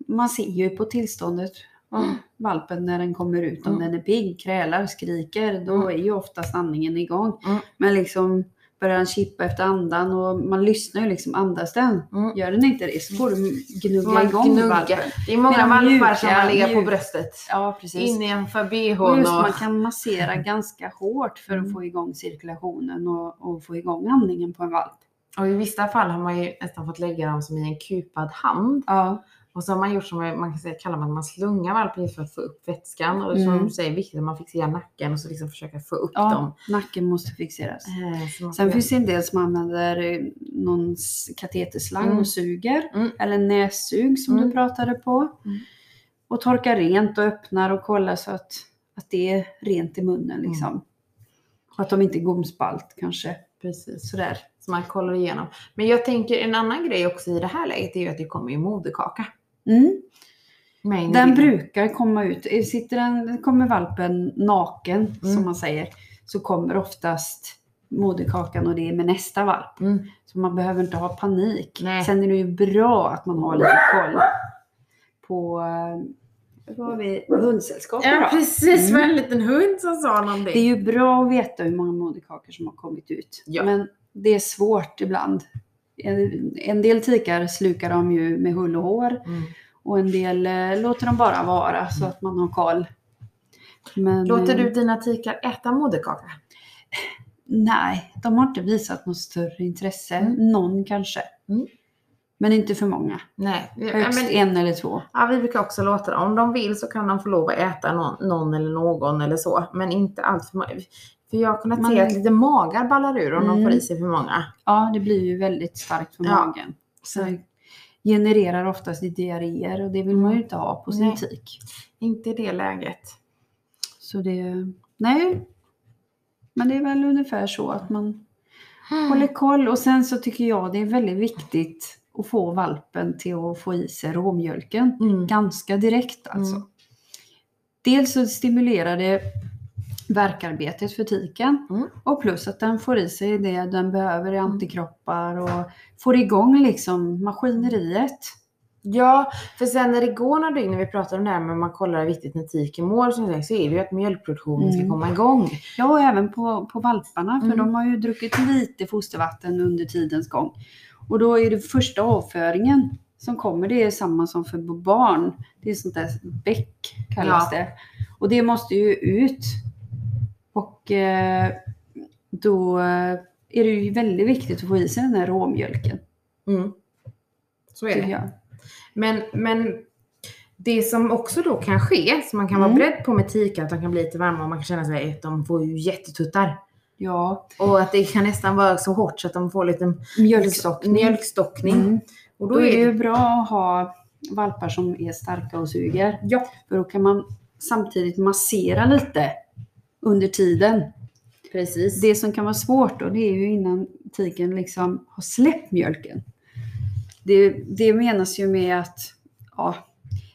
Speaker 2: man ser ju på tillståndet av valpen när den kommer ut. Om
Speaker 1: Mm.
Speaker 2: den är pigg, krälar, skriker, då
Speaker 1: Mm.
Speaker 2: är ju oftast andningen igång.
Speaker 1: Mm.
Speaker 2: Men liksom börjar den chippa efter andan och man lyssnar ju liksom, andas den?
Speaker 1: Mm.
Speaker 2: Gör den inte det så får du gnugga
Speaker 1: Man
Speaker 2: igång
Speaker 1: gnuggar.
Speaker 2: valpen.
Speaker 1: Det är många
Speaker 2: Medan
Speaker 1: valpar
Speaker 2: mjuka-
Speaker 1: som har legat på
Speaker 2: mjuk-
Speaker 1: bröstet.
Speaker 2: Ja, precis.
Speaker 1: Innanför
Speaker 2: Och
Speaker 1: bhn
Speaker 2: just,
Speaker 1: och...
Speaker 2: man kan massera ganska hårt för att
Speaker 1: Mm.
Speaker 2: få igång cirkulationen och, och få igång andningen på en valp.
Speaker 1: och i vissa fall har man ju nästan fått lägga dem som i en kupad hand.
Speaker 2: Ja,
Speaker 1: Och så har man gjort som man kan säga, kallar man att man slungar valpen just för att få upp vätskan. Och som
Speaker 2: Mm.
Speaker 1: du säger, viktigt att man fixerar nacken och så liksom försöka få upp
Speaker 2: Ja.
Speaker 1: dem.
Speaker 2: nacken måste fixeras.
Speaker 1: Eh, så man
Speaker 2: Sen
Speaker 1: får-
Speaker 2: finns det en del som använder eh, någon s- kateterslang
Speaker 1: Mm.
Speaker 2: och suger.
Speaker 1: Mm.
Speaker 2: Eller nässug som
Speaker 1: Mm.
Speaker 2: du pratade på.
Speaker 1: Mm.
Speaker 2: Och torkar rent och öppnar och kollar så att, att det är rent i munnen
Speaker 1: Mm.
Speaker 2: liksom. Och att de inte goms på allt kanske.
Speaker 1: Precis.
Speaker 2: Sådär.
Speaker 1: Så man kollar igenom. Men jag tänker en annan grej också i det här läget är ju att det kommer ju moderkaka.
Speaker 2: Mm.
Speaker 1: med in i
Speaker 2: Den
Speaker 1: bilden.
Speaker 2: brukar komma ut. Eh, Sitter den, kommer valpen naken
Speaker 1: Mm.
Speaker 2: som man säger så kommer oftast moderkakan och det är med nästa valp.
Speaker 1: Mm.
Speaker 2: Så man behöver inte ha panik.
Speaker 1: Nej.
Speaker 2: Sen är det ju bra att man har lite koll på eh, vad har vi, hundsällskap
Speaker 1: Ja
Speaker 2: idag.
Speaker 1: precis, det var
Speaker 2: Mm.
Speaker 1: en liten hund som sa någonting.
Speaker 2: Det är ju bra att veta hur många moderkakor som har kommit ut.
Speaker 1: Ja.
Speaker 2: Men det är svårt ibland. En- En del tikar slukar dem ju med hull och hår
Speaker 1: Mm.
Speaker 2: och en del eh, låter dem bara vara så att man har koll. Men,
Speaker 1: Låter
Speaker 2: eh,
Speaker 1: du dina tikar äta moderkaka?
Speaker 2: Nej, de har inte visat något större intresse.
Speaker 1: Mm.
Speaker 2: Någon kanske.
Speaker 1: Mm.
Speaker 2: Men inte för många.
Speaker 1: Nej. Ja,
Speaker 2: Högst
Speaker 1: men,
Speaker 2: en eller två.
Speaker 1: ja, vi brukar också låta dem. Om de vill så kan de få lov att äta någon, någon eller någon eller så. Men inte allt för många. För jag har kunnat
Speaker 2: Man-
Speaker 1: se att lite magar ballar ur om de
Speaker 2: Mm.
Speaker 1: får i sig för många.
Speaker 2: Ja, det blir ju väldigt starkt för
Speaker 1: Ja. Mm.
Speaker 2: magen. Så det genererar oftast diarréer och det vill man ju inte ha på sin
Speaker 1: Mm. Nej.
Speaker 2: tik.
Speaker 1: Inte i det läget.
Speaker 2: Så det, nej. Men det är väl ungefär så att man
Speaker 1: Mm.
Speaker 2: håller koll. Och sen så tycker jag det är väldigt viktigt att få valpen till att få i sig råmjölken.
Speaker 1: Mm.
Speaker 2: Ganska direkt alltså.
Speaker 1: Mm.
Speaker 2: Dels så stimulerar det verkarbetet för tiken
Speaker 1: Mm.
Speaker 2: och plus att den får i sig det den behöver i antikroppar och får igång liksom maskineriet.
Speaker 1: Ja, för sen när det går några dygn när vi pratar om det här med man kollar hur viktigt när tiken mår så är det ju att mjölkproduktionen ska
Speaker 2: Mm.
Speaker 1: komma igång.
Speaker 2: Ja, och även på, på valparna för
Speaker 1: Mm.
Speaker 2: de har ju druckit lite fostervatten under tidens gång. Och då är det första avföringen som kommer, det är samma som för barn. Det är sånt där bäck kallas
Speaker 1: Ja.
Speaker 2: det. Och det måste ju ut. Och eh, då eh, är det ju väldigt viktigt att få i sig den här råmjölken.
Speaker 1: Mm. Så är det.
Speaker 2: tycker jag.
Speaker 1: Men, men det som också då kan ske, som man kan vara
Speaker 2: Mm.
Speaker 1: beredd på med tikar, att de kan bli lite varma och man kan känna sig att de får ju jättetuttar.
Speaker 2: Ja,
Speaker 1: Och att det kan nästan vara så hårt så att de får lite
Speaker 2: mjölkstockning.
Speaker 1: mjölkstockning.
Speaker 2: Mm.
Speaker 1: Och
Speaker 2: Då är det ju bra att ha valpar som är starka och suger.
Speaker 1: Ja.
Speaker 2: För då kan man samtidigt massera lite under tiden.
Speaker 1: Precis.
Speaker 2: Det som kan vara svårt då, det är ju innan tiken liksom har släppt mjölken. Det, det menas ju med att ja,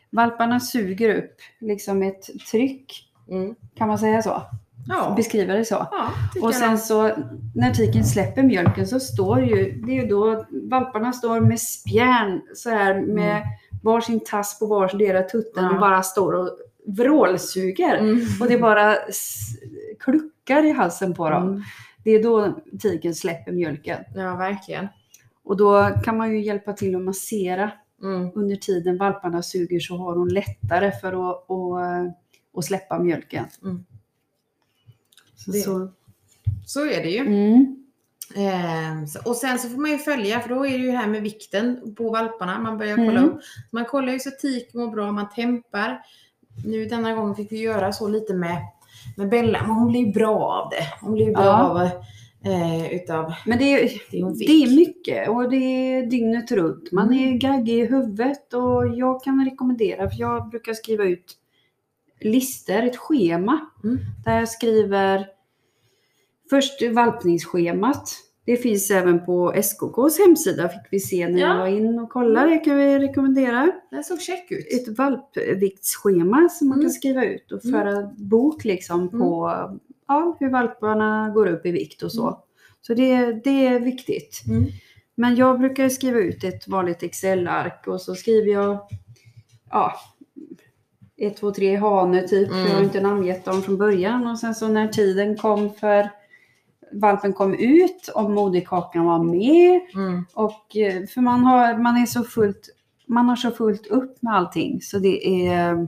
Speaker 2: valparna suger upp liksom ett tryck.
Speaker 1: Mm.
Speaker 2: Kan man säga så?
Speaker 1: Ja.
Speaker 2: Beskriva det så?
Speaker 1: ja tycker
Speaker 2: Och sen
Speaker 1: jag.
Speaker 2: så när tiken släpper mjölken så står ju, det är ju då valparna står med spjärn så här med varsin tass på vardera tutten
Speaker 1: Mm. Ja.
Speaker 2: och bara står och vrålsuger.
Speaker 1: Mm.
Speaker 2: Och det bara s- kluckar i halsen på dem.
Speaker 1: Mm.
Speaker 2: Det är då tiken släpper mjölken.
Speaker 1: Ja, verkligen.
Speaker 2: Och då kan man ju hjälpa till att massera
Speaker 1: Mm.
Speaker 2: under tiden valparna suger så har hon lättare för att, att, att släppa mjölken.
Speaker 1: Mm.
Speaker 2: Så,
Speaker 1: Det-
Speaker 2: så.
Speaker 1: Så är det ju.
Speaker 2: Mm.
Speaker 1: Ehm, så- och sen så får man ju följa, för då är det ju det här med vikten på valparna. Man börjar kolla
Speaker 2: Mm.
Speaker 1: upp. Man kollar ju så tik mår bra, man tempar. Nu denna gången fick vi göra så lite med, med Bella, men hon blir ju bra av det. Hon blir ju bra
Speaker 2: Ja.
Speaker 1: av eh, utav
Speaker 2: Men det är,
Speaker 1: det hon
Speaker 2: det
Speaker 1: fick.
Speaker 2: är mycket och det är dygnet runt. Man
Speaker 1: Mm.
Speaker 2: är gaggig i huvudet och jag kan rekommendera, för jag brukar skriva ut lister, ett schema,
Speaker 1: Mm.
Speaker 2: där jag skriver först valpningsschemat. Det finns även på SKKs hemsida fick vi se när
Speaker 1: Ja.
Speaker 2: jag var in och kollade. Det kan vi rekommendera.
Speaker 1: Den såg check ut.
Speaker 2: Ett valpviktsschema som man
Speaker 1: Mm.
Speaker 2: kan skriva ut och
Speaker 1: Mm.
Speaker 2: föra bok liksom på ja, hur valparna går upp i vikt och så.
Speaker 1: Mm.
Speaker 2: Så det, det är viktigt.
Speaker 1: Mm.
Speaker 2: Men jag brukar ju skriva ut ett vanligt Excel-ark och så skriver jag ja, 1, 2, 3 hane typ, för jag
Speaker 1: Mm.
Speaker 2: har ju inte namngett dem från början. Och sen så när tiden kom för valpen kom ut, om moderkakan var med,
Speaker 1: Mm.
Speaker 2: och, eh, för man har, man, är så fullt, man har så fullt upp med allting så det är,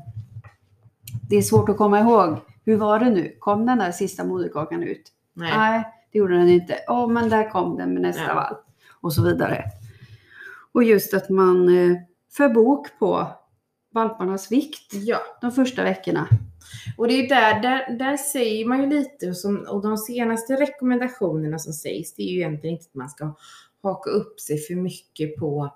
Speaker 2: det är svårt att komma ihåg. Hur var det nu? Kom den där sista moderkakan ut?
Speaker 1: Nej.
Speaker 2: Nej, det gjorde den inte. Åh, men där kom den med nästa
Speaker 1: Ja.
Speaker 2: valp. Och så vidare. Och just att man eh, för bok på valparnas vikt
Speaker 1: Ja,
Speaker 2: de första veckorna.
Speaker 1: och det är där, där, där säger man ju lite och, som, och de senaste rekommendationerna som sägs det är ju egentligen inte att man ska haka upp sig för mycket på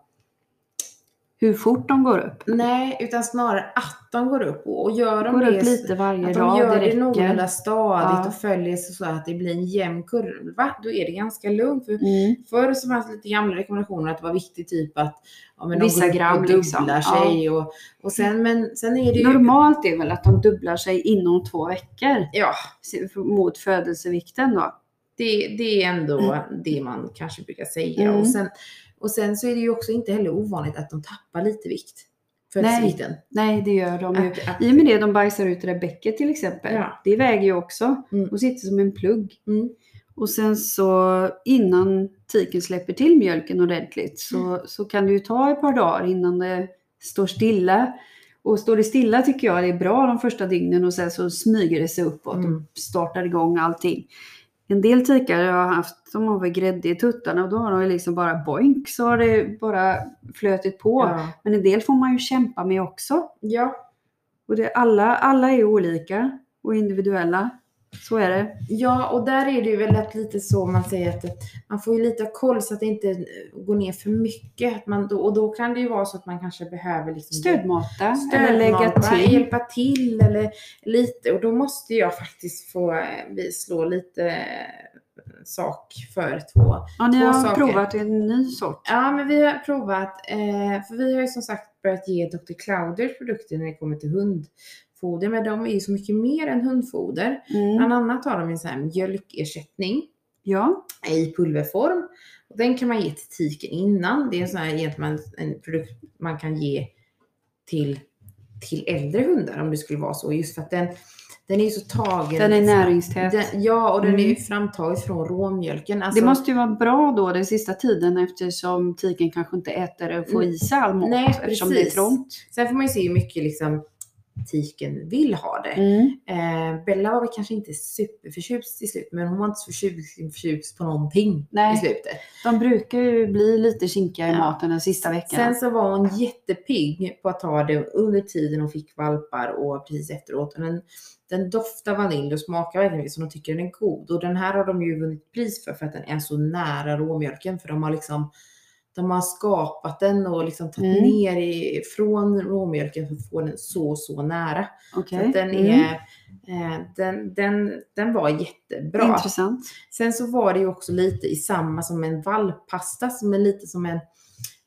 Speaker 2: Hur fort de går upp.
Speaker 1: Nej, utan snarare att de går upp och, och gör de
Speaker 2: går
Speaker 1: det
Speaker 2: upp lite varje
Speaker 1: Att de
Speaker 2: dag,
Speaker 1: gör
Speaker 2: det
Speaker 1: det någorlunda
Speaker 2: räcker.
Speaker 1: stadigt
Speaker 2: Ja.
Speaker 1: och följer sig så att det blir en jämn kurva, då är det ganska lugnt. För
Speaker 2: Mm.
Speaker 1: förr så fanns det lite gamla rekommendationer att det var viktigt typ att ja, men
Speaker 2: Vissa
Speaker 1: de går upp
Speaker 2: gram,
Speaker 1: och dubblar
Speaker 2: liksom. Ja.
Speaker 1: sig. Och, och sen, men sen är det ju...
Speaker 2: Normalt är väl att de dubblar sig inom två veckor
Speaker 1: Ja,
Speaker 2: se- mot födelsevikten då.
Speaker 1: det, det är ändå det man kanske brukar säga.
Speaker 2: Mm.
Speaker 1: Och, sen, och sen så är det ju också inte heller ovanligt att de tappar lite vikt. Födelsevikten.
Speaker 2: Nej, det gör de ju.
Speaker 1: Att- att-
Speaker 2: I och med det de bajsar ut Rebecka till exempel.
Speaker 1: Ja.
Speaker 2: Det väger ju också.
Speaker 1: Mm.
Speaker 2: Hon sitter som en plugg.
Speaker 1: Mm.
Speaker 2: Och sen så innan tiken släpper till mjölken ordentligt så,
Speaker 1: Mm.
Speaker 2: så kan det ju ta ett par dagar innan det står stilla. Och står det stilla tycker jag det är bra de första dygnen och sen så smyger det sig uppåt
Speaker 1: Mm.
Speaker 2: och startar igång allting. En del tikar jag har haft, de har väl grädde i tuttarna och då har de ju liksom bara boink så har det bara flötit på.
Speaker 1: Ja.
Speaker 2: Men en del får man ju kämpa med också.
Speaker 1: Ja.
Speaker 2: Och det, alla, alla är olika och individuella. Så är det.
Speaker 1: ja, och där är det ju väl att lite så man säger att man får ju lite koll så att det inte eh, går ner för mycket. Att man då, och då kan det ju vara så att man kanske behöver liksom
Speaker 2: Stödmata, eller lägga
Speaker 1: stödmata,
Speaker 2: till.
Speaker 1: hjälpa till eller lite. Och då måste jag faktiskt få eh, vi slå lite eh, sak för två
Speaker 2: Ja, ni
Speaker 1: två
Speaker 2: har
Speaker 1: saker.
Speaker 2: provat en ny sort.
Speaker 1: Ja, men vi har provat. Eh, för vi har ju som sagt börjat ge Dr. Clauders produkter när det kommer till hundfoder. Men de är ju så mycket mer än hundfoder.
Speaker 2: Mm.
Speaker 1: Bland annat har de en sån här mjölkersättning
Speaker 2: Ja,
Speaker 1: i pulverform. Och den kan man ge till tiken innan. Det är en sån här egentligen en produkt man kan ge till, till äldre hundar om det skulle vara så. Just för att den, den är ju så tagen.
Speaker 2: den är näringstät.
Speaker 1: Den- ja, och den är ju
Speaker 2: Mm.
Speaker 1: framtagen från råmjölken. Alltså,
Speaker 2: det måste ju vara bra då den sista tiden eftersom tiken kanske inte äter och får i sig all mat
Speaker 1: Mm. Nej,
Speaker 2: eftersom det är
Speaker 1: precis.
Speaker 2: trångt.
Speaker 1: Sen får man ju se hur mycket liksom, tiken vill ha
Speaker 2: Mm.
Speaker 1: det. Eh, Bella var väl kanske inte superförtjust i slutet, men hon var inte så förtjust, förtjust på någonting
Speaker 2: Nej.
Speaker 1: i slutet.
Speaker 2: De brukar ju bli lite kinkiga i
Speaker 1: Ja.
Speaker 2: maten den sista veckan.
Speaker 1: Sen så var hon jättepigg på att ta det under tiden hon fick valpar och precis efteråt. Och den, den doftar vanilj och smakar verkligen som de tycker den är god. Och den här har de ju vunnit pris för, för att den är så nära råmjölken. För de har liksom de har skapat den och liksom tagit
Speaker 2: Mm.
Speaker 1: ner i, från råmjölken för att få den så, så nära.
Speaker 2: Okej.
Speaker 1: Så att den,
Speaker 2: Mm.
Speaker 1: är, eh, den, den, den var jättebra.
Speaker 2: Intressant.
Speaker 1: Sen så var det ju också lite i samma som en vallpasta som är lite som en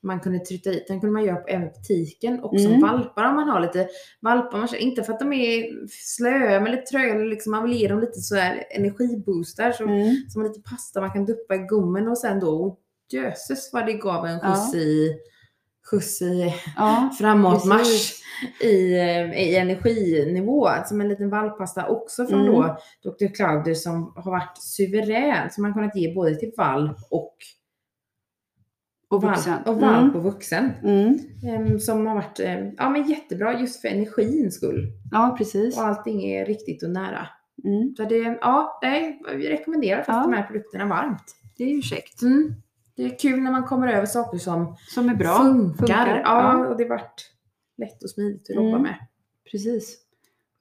Speaker 1: man kunde trycka i. Den kunde man göra på även på tiken och som
Speaker 2: Mm.
Speaker 1: valpar om man har lite valpar. Man, känner- inte för att de är slöa men lite tröga eller liksom, man vill ge dem lite så här energiboostar som,
Speaker 2: Mm.
Speaker 1: som lite pasta man kan duppa i gummen och sen då oh, jösses vad det gav en
Speaker 2: Ja.
Speaker 1: skjuts i skjuts i
Speaker 2: Ja.
Speaker 1: framåtmarsch
Speaker 2: precis.
Speaker 1: i, eh, i energinivå. Som en liten vallpasta också från
Speaker 2: Mm.
Speaker 1: då Dr. Clauder som har varit suverän. Som man kunnat ge både till valp och,
Speaker 2: Och vuxen.
Speaker 1: valp, och, valp
Speaker 2: Mm.
Speaker 1: och vuxen.
Speaker 2: Mm.
Speaker 1: Ehm, Som har varit eh, ja, men jättebra just för energins skull.
Speaker 2: Ja, precis.
Speaker 1: Och allting är riktigt och nära.
Speaker 2: Mm.
Speaker 1: Så det, ja, nej, vi rekommenderar faktiskt
Speaker 2: Ja.
Speaker 1: de här produkterna varmt.
Speaker 2: Det är ju käckt.
Speaker 1: Mm. Det är kul när man kommer över saker som
Speaker 2: Som är bra.
Speaker 1: funkar.
Speaker 2: Funkar,
Speaker 1: Ja,
Speaker 2: ja.
Speaker 1: och det vart lätt och smidigt att
Speaker 2: Mm.
Speaker 1: jobba med.
Speaker 2: Precis.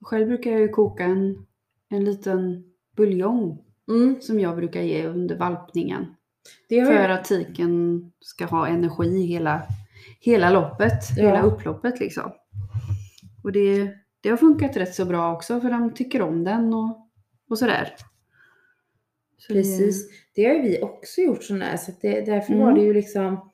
Speaker 2: Själv brukar jag ju koka en, en liten buljong
Speaker 1: Mm.
Speaker 2: som jag brukar ge under valpningen.
Speaker 1: Det har
Speaker 2: För
Speaker 1: jag-
Speaker 2: att tiken ska ha energi hela, hela loppet,
Speaker 1: Ja.
Speaker 2: hela upploppet liksom. Och det, det har funkat rätt så bra också för de tycker om den och, och sådär. Så det-
Speaker 1: Precis. Det har ju vi också gjort sådana här, så att det, därför
Speaker 2: Mm.
Speaker 1: var det ju liksom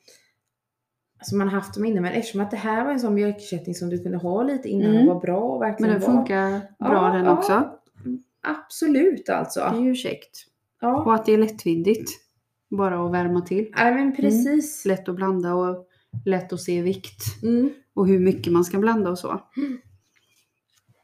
Speaker 1: Alltså man har haft dem innan, men eftersom att det här var en sån mjölkersättning som du kunde ha lite innan
Speaker 2: Mm.
Speaker 1: och var bra och verkligen
Speaker 2: Men den
Speaker 1: var.
Speaker 2: funkar bra
Speaker 1: Ja,
Speaker 2: den
Speaker 1: ja.
Speaker 2: också.
Speaker 1: Absolut
Speaker 2: Det är
Speaker 1: alltså.
Speaker 2: ju käckt.
Speaker 1: Ja.
Speaker 2: Och att det är lättvindigt. Bara att värma till.
Speaker 1: Ja, men precis.
Speaker 2: Lätt att blanda och lätt att se vikt
Speaker 1: Mm.
Speaker 2: och hur mycket man ska blanda och så.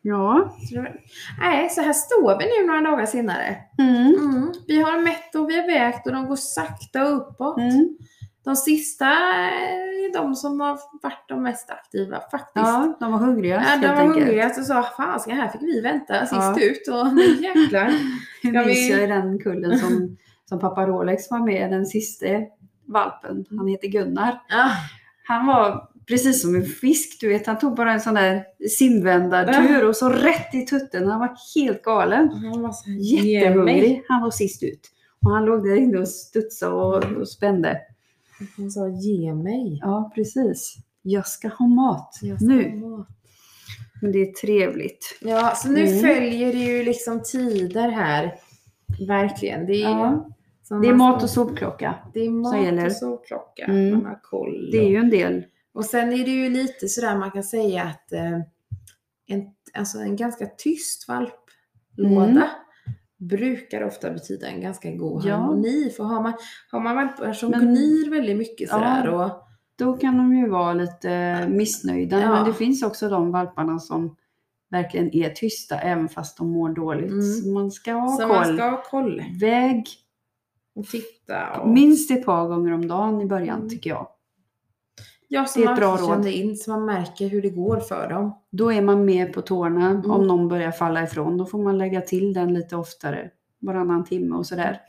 Speaker 2: Ja.
Speaker 1: Så det var- Nej, så här står vi nu några dagar senare.
Speaker 2: Mm.
Speaker 1: Mm. Vi har mätt och vi har vägt och de går sakta uppåt.
Speaker 2: Mm.
Speaker 1: De sista är de som har varit de mest aktiva faktiskt.
Speaker 2: Ja, de var hungriga
Speaker 1: Ja, de
Speaker 2: helt
Speaker 1: var
Speaker 2: enkelt.
Speaker 1: hungriga och sa fan, ska här fick vi vänta sist
Speaker 2: Ja.
Speaker 1: ut och nu jäklar.
Speaker 2: Hur
Speaker 1: Ska vi-
Speaker 2: minns jag i den kullen som, som pappa Rolex var med, den sista valpen.
Speaker 1: Mm.
Speaker 2: Han heter Gunnar.
Speaker 1: Ja.
Speaker 2: Han var precis som en fisk, du vet. Han tog bara en sån där simvändartur och så rätt i tutten. Han var helt galen.
Speaker 1: Han var så här, "Ge mig."
Speaker 2: Jättehungrig. Han var sist ut. Och han låg där inne och studsade och, och spände.
Speaker 1: Han sa ge mig.
Speaker 2: Ja, precis. Jag ska ha mat
Speaker 1: Jag ska
Speaker 2: nu.
Speaker 1: ha mat.
Speaker 2: Men det är trevligt.
Speaker 1: Ja, så nu
Speaker 2: Mm.
Speaker 1: följer det ju liksom tider här. Verkligen. Det är,
Speaker 2: Ja.
Speaker 1: som
Speaker 2: Det är
Speaker 1: man
Speaker 2: mat och
Speaker 1: ska-
Speaker 2: sopklocka.
Speaker 1: Det är mat
Speaker 2: gäller.
Speaker 1: och sovklocka.
Speaker 2: Mm.
Speaker 1: Man har koll.
Speaker 2: Det är ju en del.
Speaker 1: Och sen är det ju lite sådär man kan säga att eh, en, alltså en ganska tyst valplåda
Speaker 2: Mm.
Speaker 1: brukar ofta betyda en ganska god
Speaker 2: Ja.
Speaker 1: harmoni. För har man, har man valpar som
Speaker 2: Men-
Speaker 1: gnyr väldigt mycket
Speaker 2: Ja.
Speaker 1: sådär och
Speaker 2: Då kan de ju vara lite missnöjda.
Speaker 1: Ja.
Speaker 2: Men det finns också de valparna som verkligen är tysta även fast de mår dåligt.
Speaker 1: Mm.
Speaker 2: Så man ska ha
Speaker 1: så
Speaker 2: koll.
Speaker 1: man ska ha koll
Speaker 2: Väg
Speaker 1: och titta. Och,
Speaker 2: minst ett par gånger om dagen i början
Speaker 1: Mm.
Speaker 2: tycker jag.
Speaker 1: ja, så
Speaker 2: det är
Speaker 1: man
Speaker 2: ett bra
Speaker 1: också
Speaker 2: råd.
Speaker 1: känner in så man märker hur det går för dem.
Speaker 2: Då är man mer på tårna.
Speaker 1: Mm.
Speaker 2: Om någon börjar falla ifrån då får man lägga till den lite oftare. Varannan timme och sådär.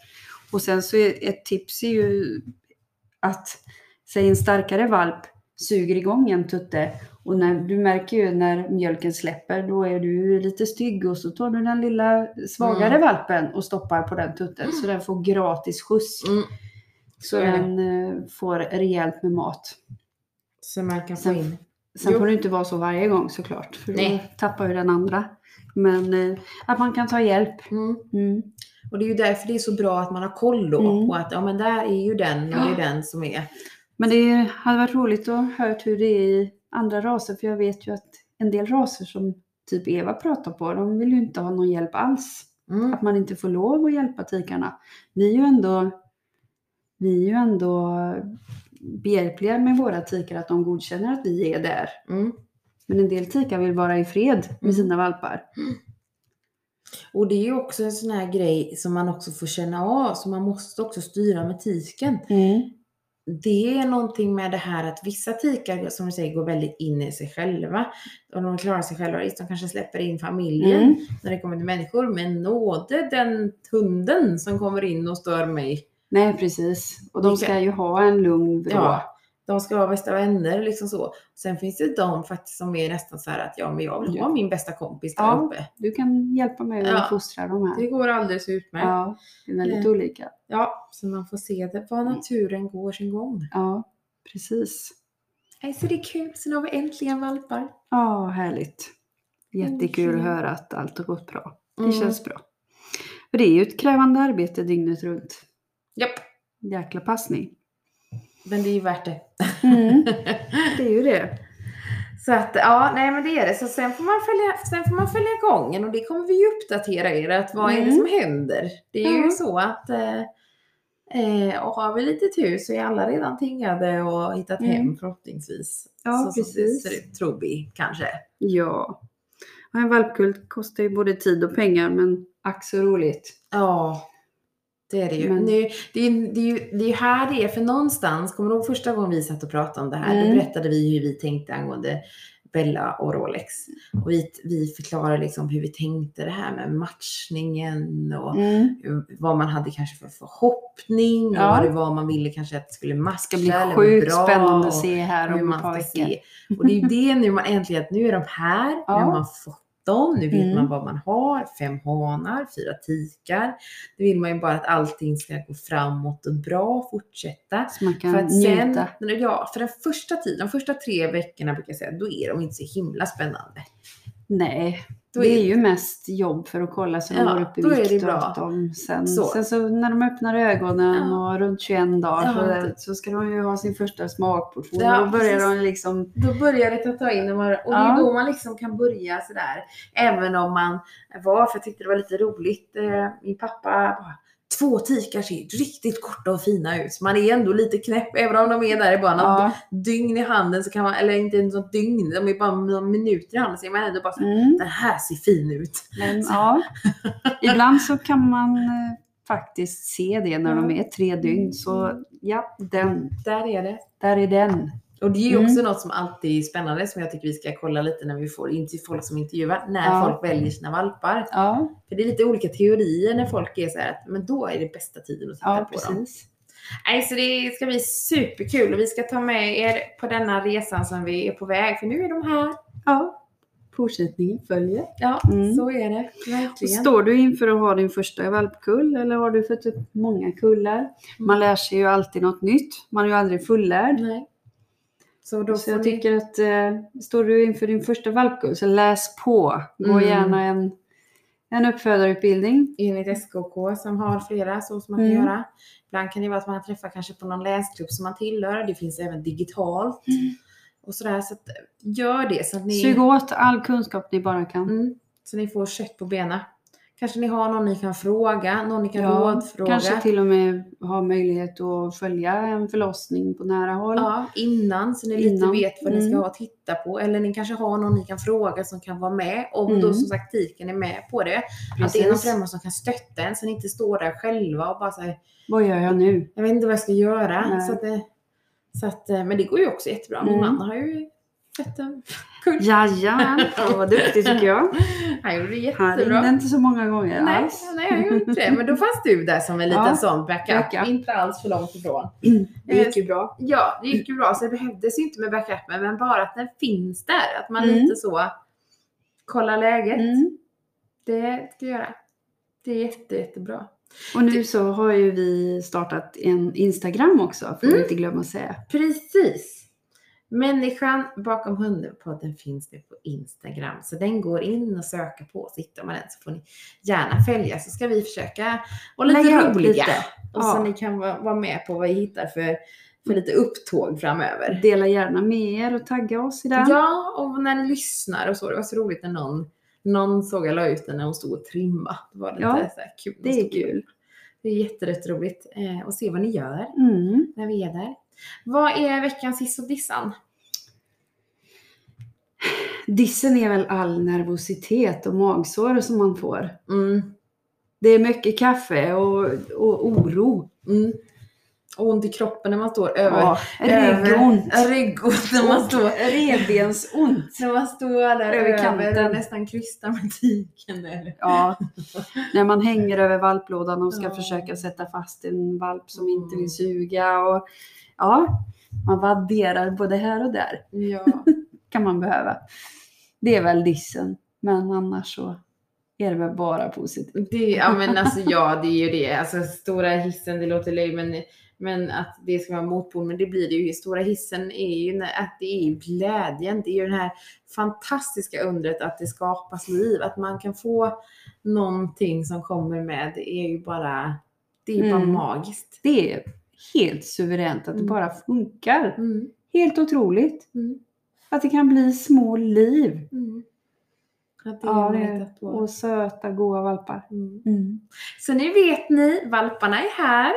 Speaker 2: Och sen så är ett tips är ju att säg en starkare valp suger igång en tutte och när, du märker ju när mjölken släpper då är du lite stygg och så tar du den lilla svagare
Speaker 1: Mm.
Speaker 2: valpen och stoppar på den tutten så den får gratis skjuts.
Speaker 1: Mm.
Speaker 2: Så
Speaker 1: är det.
Speaker 2: den eh, får rejält med mat.
Speaker 1: Så man kan få
Speaker 2: Sen-
Speaker 1: in.
Speaker 2: Sen
Speaker 1: Jo.
Speaker 2: får det inte vara så varje gång såklart, för då
Speaker 1: Nej.
Speaker 2: tappar ju den andra. Men eh, att man kan ta hjälp.
Speaker 1: Mm.
Speaker 2: Mm.
Speaker 1: Och det är ju därför det är så bra att man har koll då
Speaker 2: Mm.
Speaker 1: på att ja men där är ju den och det är den som är.
Speaker 2: Men det är- hade varit roligt att höra hur det är i andra raser, för jag vet ju att en del raser som typ Eva pratar på, de vill ju inte ha någon hjälp alls.
Speaker 1: Mm.
Speaker 2: Att man inte får lov att hjälpa tikarna. Vi är ju ändå, vi är ju ändå behjälpliga med våra tikar, att de godkänner att vi är där.
Speaker 1: Mm.
Speaker 2: Men en del tikar vill vara i fred
Speaker 1: Mm.
Speaker 2: med sina valpar.
Speaker 1: Och det är ju också en sån här grej som man också får känna av, så man måste också styra med tiken. Det är någonting med det här att vissa tikar, som du säger, går väldigt in i sig själva. Och de klarar sig själva. Visst, de kanske släpper in familjen
Speaker 2: Mm.
Speaker 1: när det kommer till människor, men nåde den hunden som kommer in och stör mig.
Speaker 2: Nej, precis. Och de
Speaker 1: Vilka-
Speaker 2: ska ju ha en lugn vrå.
Speaker 1: Ja. De ska vara bästa vänner liksom så. Sen finns det de faktiskt som är nästan så här att ja, men jag vill ha min bästa kompis där
Speaker 2: Ja.
Speaker 1: uppe.
Speaker 2: Du kan hjälpa mig att
Speaker 1: Ja.
Speaker 2: fostra de här.
Speaker 1: Det går alldeles utmärkt. Ja.
Speaker 2: Ja, det är väldigt
Speaker 1: Eh.
Speaker 2: olika.
Speaker 1: så man får se det, vad naturen går sin gång.
Speaker 2: Ja, precis.
Speaker 1: Nej, så det är kul. Så nu har vi äntligen valpar.
Speaker 2: Ja, härligt. Jättekul
Speaker 1: Mm.
Speaker 2: att höra att allt har gått bra. Det känns bra. För det är ju ett krävande arbete dygnet runt.
Speaker 1: Japp.
Speaker 2: Jäkla passning.
Speaker 1: Men det är ju värt det. Mm.
Speaker 2: Det är ju det.
Speaker 1: så att ja, nej men det är det. Så sen får man följa, sen får man följa gången och det kommer vi ju uppdatera er att vad är det
Speaker 2: Mm.
Speaker 1: som händer? Det är ju
Speaker 2: Ja.
Speaker 1: så att eh, eh, och har vi lite tur så är alla redan tingade och hittat
Speaker 2: Mm.
Speaker 1: hem förhoppningsvis.
Speaker 2: Ja,
Speaker 1: så,
Speaker 2: precis.
Speaker 1: Så det ser ut, tror vi kanske.
Speaker 2: Ja. Och en valpkult kostar ju både tid och pengar, men ack så roligt.
Speaker 1: Ja, det är det ju.
Speaker 2: Men-
Speaker 1: Nu, det, är, ju- det, är ju, det är ju här det är, för någonstans, kommer du ihåg första gången vi satt och pratade om det här? Då
Speaker 2: Mm.
Speaker 1: berättade vi hur vi tänkte angående Bella och Rolex. Och vi, vi förklarade liksom hur vi tänkte det här med matchningen och hur- vad man hade kanske för förhoppning
Speaker 2: Mm. Ja.
Speaker 1: och vad det var man ville kanske att det skulle matcha.
Speaker 2: Det ska bli
Speaker 1: eller vara
Speaker 2: sjukt
Speaker 1: bra
Speaker 2: spännande
Speaker 1: och-
Speaker 2: att se här
Speaker 1: hur
Speaker 2: om
Speaker 1: man
Speaker 2: ett par
Speaker 1: ska
Speaker 2: veckor.
Speaker 1: se. Och det är ju det nu man äntligen, att nu är de här, nu har
Speaker 2: Ja.
Speaker 1: man fått dem, nu vet
Speaker 2: Mm.
Speaker 1: man vad man har, fem hanar, fyra tikar. Nu vill man ju bara att allting ska gå framåt och bra, fortsätta.
Speaker 2: Så man kan
Speaker 1: För att sen,
Speaker 2: njuta.
Speaker 1: nej, ja, för den första tiden, de första tre veckorna brukar jag säga, då är de inte så himla spännande.
Speaker 2: Nej,
Speaker 1: Då
Speaker 2: det
Speaker 1: är-
Speaker 2: är ju mest jobb för att kolla så de
Speaker 1: Ja,
Speaker 2: går upp i
Speaker 1: då är det
Speaker 2: vikt
Speaker 1: bra.
Speaker 2: och att de sen
Speaker 1: Så.
Speaker 2: så. sen så när de öppnar ögonen
Speaker 1: Ja.
Speaker 2: och runt 21 dagar
Speaker 1: Ja. typ.
Speaker 2: så, så ska de ju ha sin första smakportion.
Speaker 1: Ja,
Speaker 2: och då börjar
Speaker 1: precis.
Speaker 2: de liksom,
Speaker 1: Då börjar det ta in och, man, och det är
Speaker 2: Ja.
Speaker 1: då man liksom kan börja sådär. Även om man var, för jag tyckte det var lite roligt, eh, min pappa bara, Två tikar ser riktigt korta och fina ut. så Man är ändå lite knäpp, även om de är där i bara något
Speaker 2: Ja.
Speaker 1: dygn i handen så kan man, eller inte ens något dygn, de är bara några minuter i handen så är man ändå bara så här,
Speaker 2: Mm.
Speaker 1: den här ser fin ut.
Speaker 2: Men, ja. Ibland så kan man eh, faktiskt se det när de
Speaker 1: Ja. Mm.
Speaker 2: är tre dygn. Så ja, den.
Speaker 1: Där är det.
Speaker 2: Där är den.
Speaker 1: Och det är ju
Speaker 2: Mm.
Speaker 1: också något som alltid är spännande som jag tycker vi ska kolla lite när vi får in till folk som intervjuar, när
Speaker 2: Ja.
Speaker 1: folk väljer sina valpar.
Speaker 2: Ja,
Speaker 1: För det är lite olika teorier när folk är så här att men då är det bästa tiden att titta
Speaker 2: ja
Speaker 1: på dem.
Speaker 2: precis.
Speaker 1: Nej, så det ska bli superkul och vi ska ta med er på denna resan som vi är på väg för nu är de här.
Speaker 2: Ja. Fortsättningen följer.
Speaker 1: Ja,
Speaker 2: Mm.
Speaker 1: så är det.
Speaker 2: Och
Speaker 1: Verkligen.
Speaker 2: Står du inför att ha din första valpkull eller har du fått upp många
Speaker 1: Mm.
Speaker 2: kullar? Man lär sig ju alltid något nytt. Man är ju aldrig fullärd.
Speaker 1: Nej. Så då
Speaker 2: Så
Speaker 1: får
Speaker 2: jag
Speaker 1: ni...
Speaker 2: tycker att eh, står du inför din första valpkull så läs på. Gå
Speaker 1: Mm.
Speaker 2: gärna en, en uppfödarutbildning.
Speaker 1: enligt SKK som har flera så som man kan
Speaker 2: Mm.
Speaker 1: göra. Ibland kan det vara att man träffar kanske på någon läsklubb som man tillhör. Det finns även digitalt
Speaker 2: Mm.
Speaker 1: och sådär. Så att, gör det så att ni,
Speaker 2: Sug åt all kunskap ni bara kan.
Speaker 1: mm, så ni får kött på benen. Kanske ni har någon ni kan fråga, någon ni kan
Speaker 2: Ja,
Speaker 1: rådfråga.
Speaker 2: Kanske till och med ha möjlighet att följa en förlossning på nära håll.
Speaker 1: Ja, innan så ni lite
Speaker 2: Innan.
Speaker 1: vet vad ni ska
Speaker 2: Mm.
Speaker 1: ha att titta på. Eller ni kanske har någon ni kan fråga som kan vara med om då
Speaker 2: Mm.
Speaker 1: som sagt tiken är med på det. Att det är någon
Speaker 2: Precis.
Speaker 1: främling som kan stötta en så ni inte står där själva och bara säger
Speaker 2: Vad gör jag nu?
Speaker 1: jag vet inte vad jag ska göra.
Speaker 2: Nej.
Speaker 1: Så att, det- så att, eh, men det går ju också jättebra. Min
Speaker 2: Mm.
Speaker 1: man har ju fött en kurs.
Speaker 2: Jajamän, fan vad duktig tycker jag.
Speaker 1: Han gjorde det
Speaker 2: Han
Speaker 1: jättebra.
Speaker 2: ringde inte så många gånger
Speaker 1: Nej,
Speaker 2: alls.
Speaker 1: nej, jag gjorde inte det. Men då fanns du där som en liten
Speaker 2: Ja,
Speaker 1: sån backup.
Speaker 2: backup.
Speaker 1: Inte alls för långt ifrån. Eh,
Speaker 2: Det gick ju bra.
Speaker 1: Ja, det gick ju bra. Så det behövdes ju inte med backupen. Men bara att den finns där. Att man
Speaker 2: Mm.
Speaker 1: lite så kollar läget.
Speaker 2: Mm.
Speaker 1: Det ska jag göra. Det är jätte, jättebra.
Speaker 2: Och nu så har ju vi startat en Instagram också, får vi
Speaker 1: Mm.
Speaker 2: inte glömma att säga.
Speaker 1: Precis. Människan bakom hunden-podden finns nu på Instagram. Så den går in och söker på. Så hittar man den så får ni gärna följa. Så ska vi försöka vara lite
Speaker 2: Lägga upp
Speaker 1: roliga.
Speaker 2: lite.
Speaker 1: Och
Speaker 2: Ja.
Speaker 1: så ni kan va- vara med på vad vi hittar för, för lite upptåg framöver.
Speaker 2: Dela gärna med er och tagga oss i den.
Speaker 1: Ja, och när ni lyssnar och så. Det var så roligt när någon, någon såg jag la ut den när hon stod och trimma. Det var lite
Speaker 2: Ja,
Speaker 1: så här kul.
Speaker 2: det är kul.
Speaker 1: Det är jätteroligt eh, att se vad ni gör
Speaker 2: Mm.
Speaker 1: när vi är där. Vad är veckans hiss och dissan?
Speaker 2: Dissen är väl all nervositet och magsår som man får.
Speaker 1: Mm.
Speaker 2: Det är mycket kaffe och, och oro.
Speaker 1: Mm. Och ont i kroppen när man står över.
Speaker 2: Ja, ryggont.
Speaker 1: över- Ryggont när man står,
Speaker 2: Revbensont.
Speaker 1: när man står där
Speaker 2: Över
Speaker 1: över kanten
Speaker 2: kanten.
Speaker 1: och nästan krystar med tiken. Där.
Speaker 2: Ja, när man hänger över valplådan och ska
Speaker 1: Ja.
Speaker 2: försöka sätta fast en valp som inte
Speaker 1: Mm.
Speaker 2: vill suga. Och, ja, man vadderar både här och där
Speaker 1: Ja.
Speaker 2: kan man behöva. Det är väl dissen, men annars så är det väl bara positivt.
Speaker 1: Det, ja, men alltså, ja, det är ju det. Alltså, stora hissen, det låter löjligt, men, men att det ska vara motpol. Men det blir det ju. Stora hissen är ju när, att det är ju glädjen. Det är ju det här fantastiska undret att det skapas liv. Att man kan få någonting som kommer med. Det är ju bara, det är bara
Speaker 2: Mm.
Speaker 1: magiskt.
Speaker 2: Det är helt suveränt att det
Speaker 1: Mm.
Speaker 2: bara funkar.
Speaker 1: Mm.
Speaker 2: Helt otroligt
Speaker 1: Mm.
Speaker 2: att det kan bli små liv
Speaker 1: Mm. Att det
Speaker 2: Ja,
Speaker 1: är
Speaker 2: det
Speaker 1: ja,
Speaker 2: är-
Speaker 1: att på.
Speaker 2: och söta, goa valpar.
Speaker 1: Mm. Så nu vet ni, valparna är här.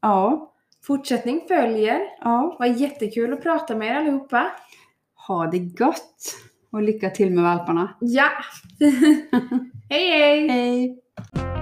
Speaker 2: Ja,
Speaker 1: Fortsättning följer.
Speaker 2: ja,
Speaker 1: Var jättekul att prata med er allihopa.
Speaker 2: ha det gott och lycka till med valparna.
Speaker 1: Ja! hej hej!
Speaker 2: Hej!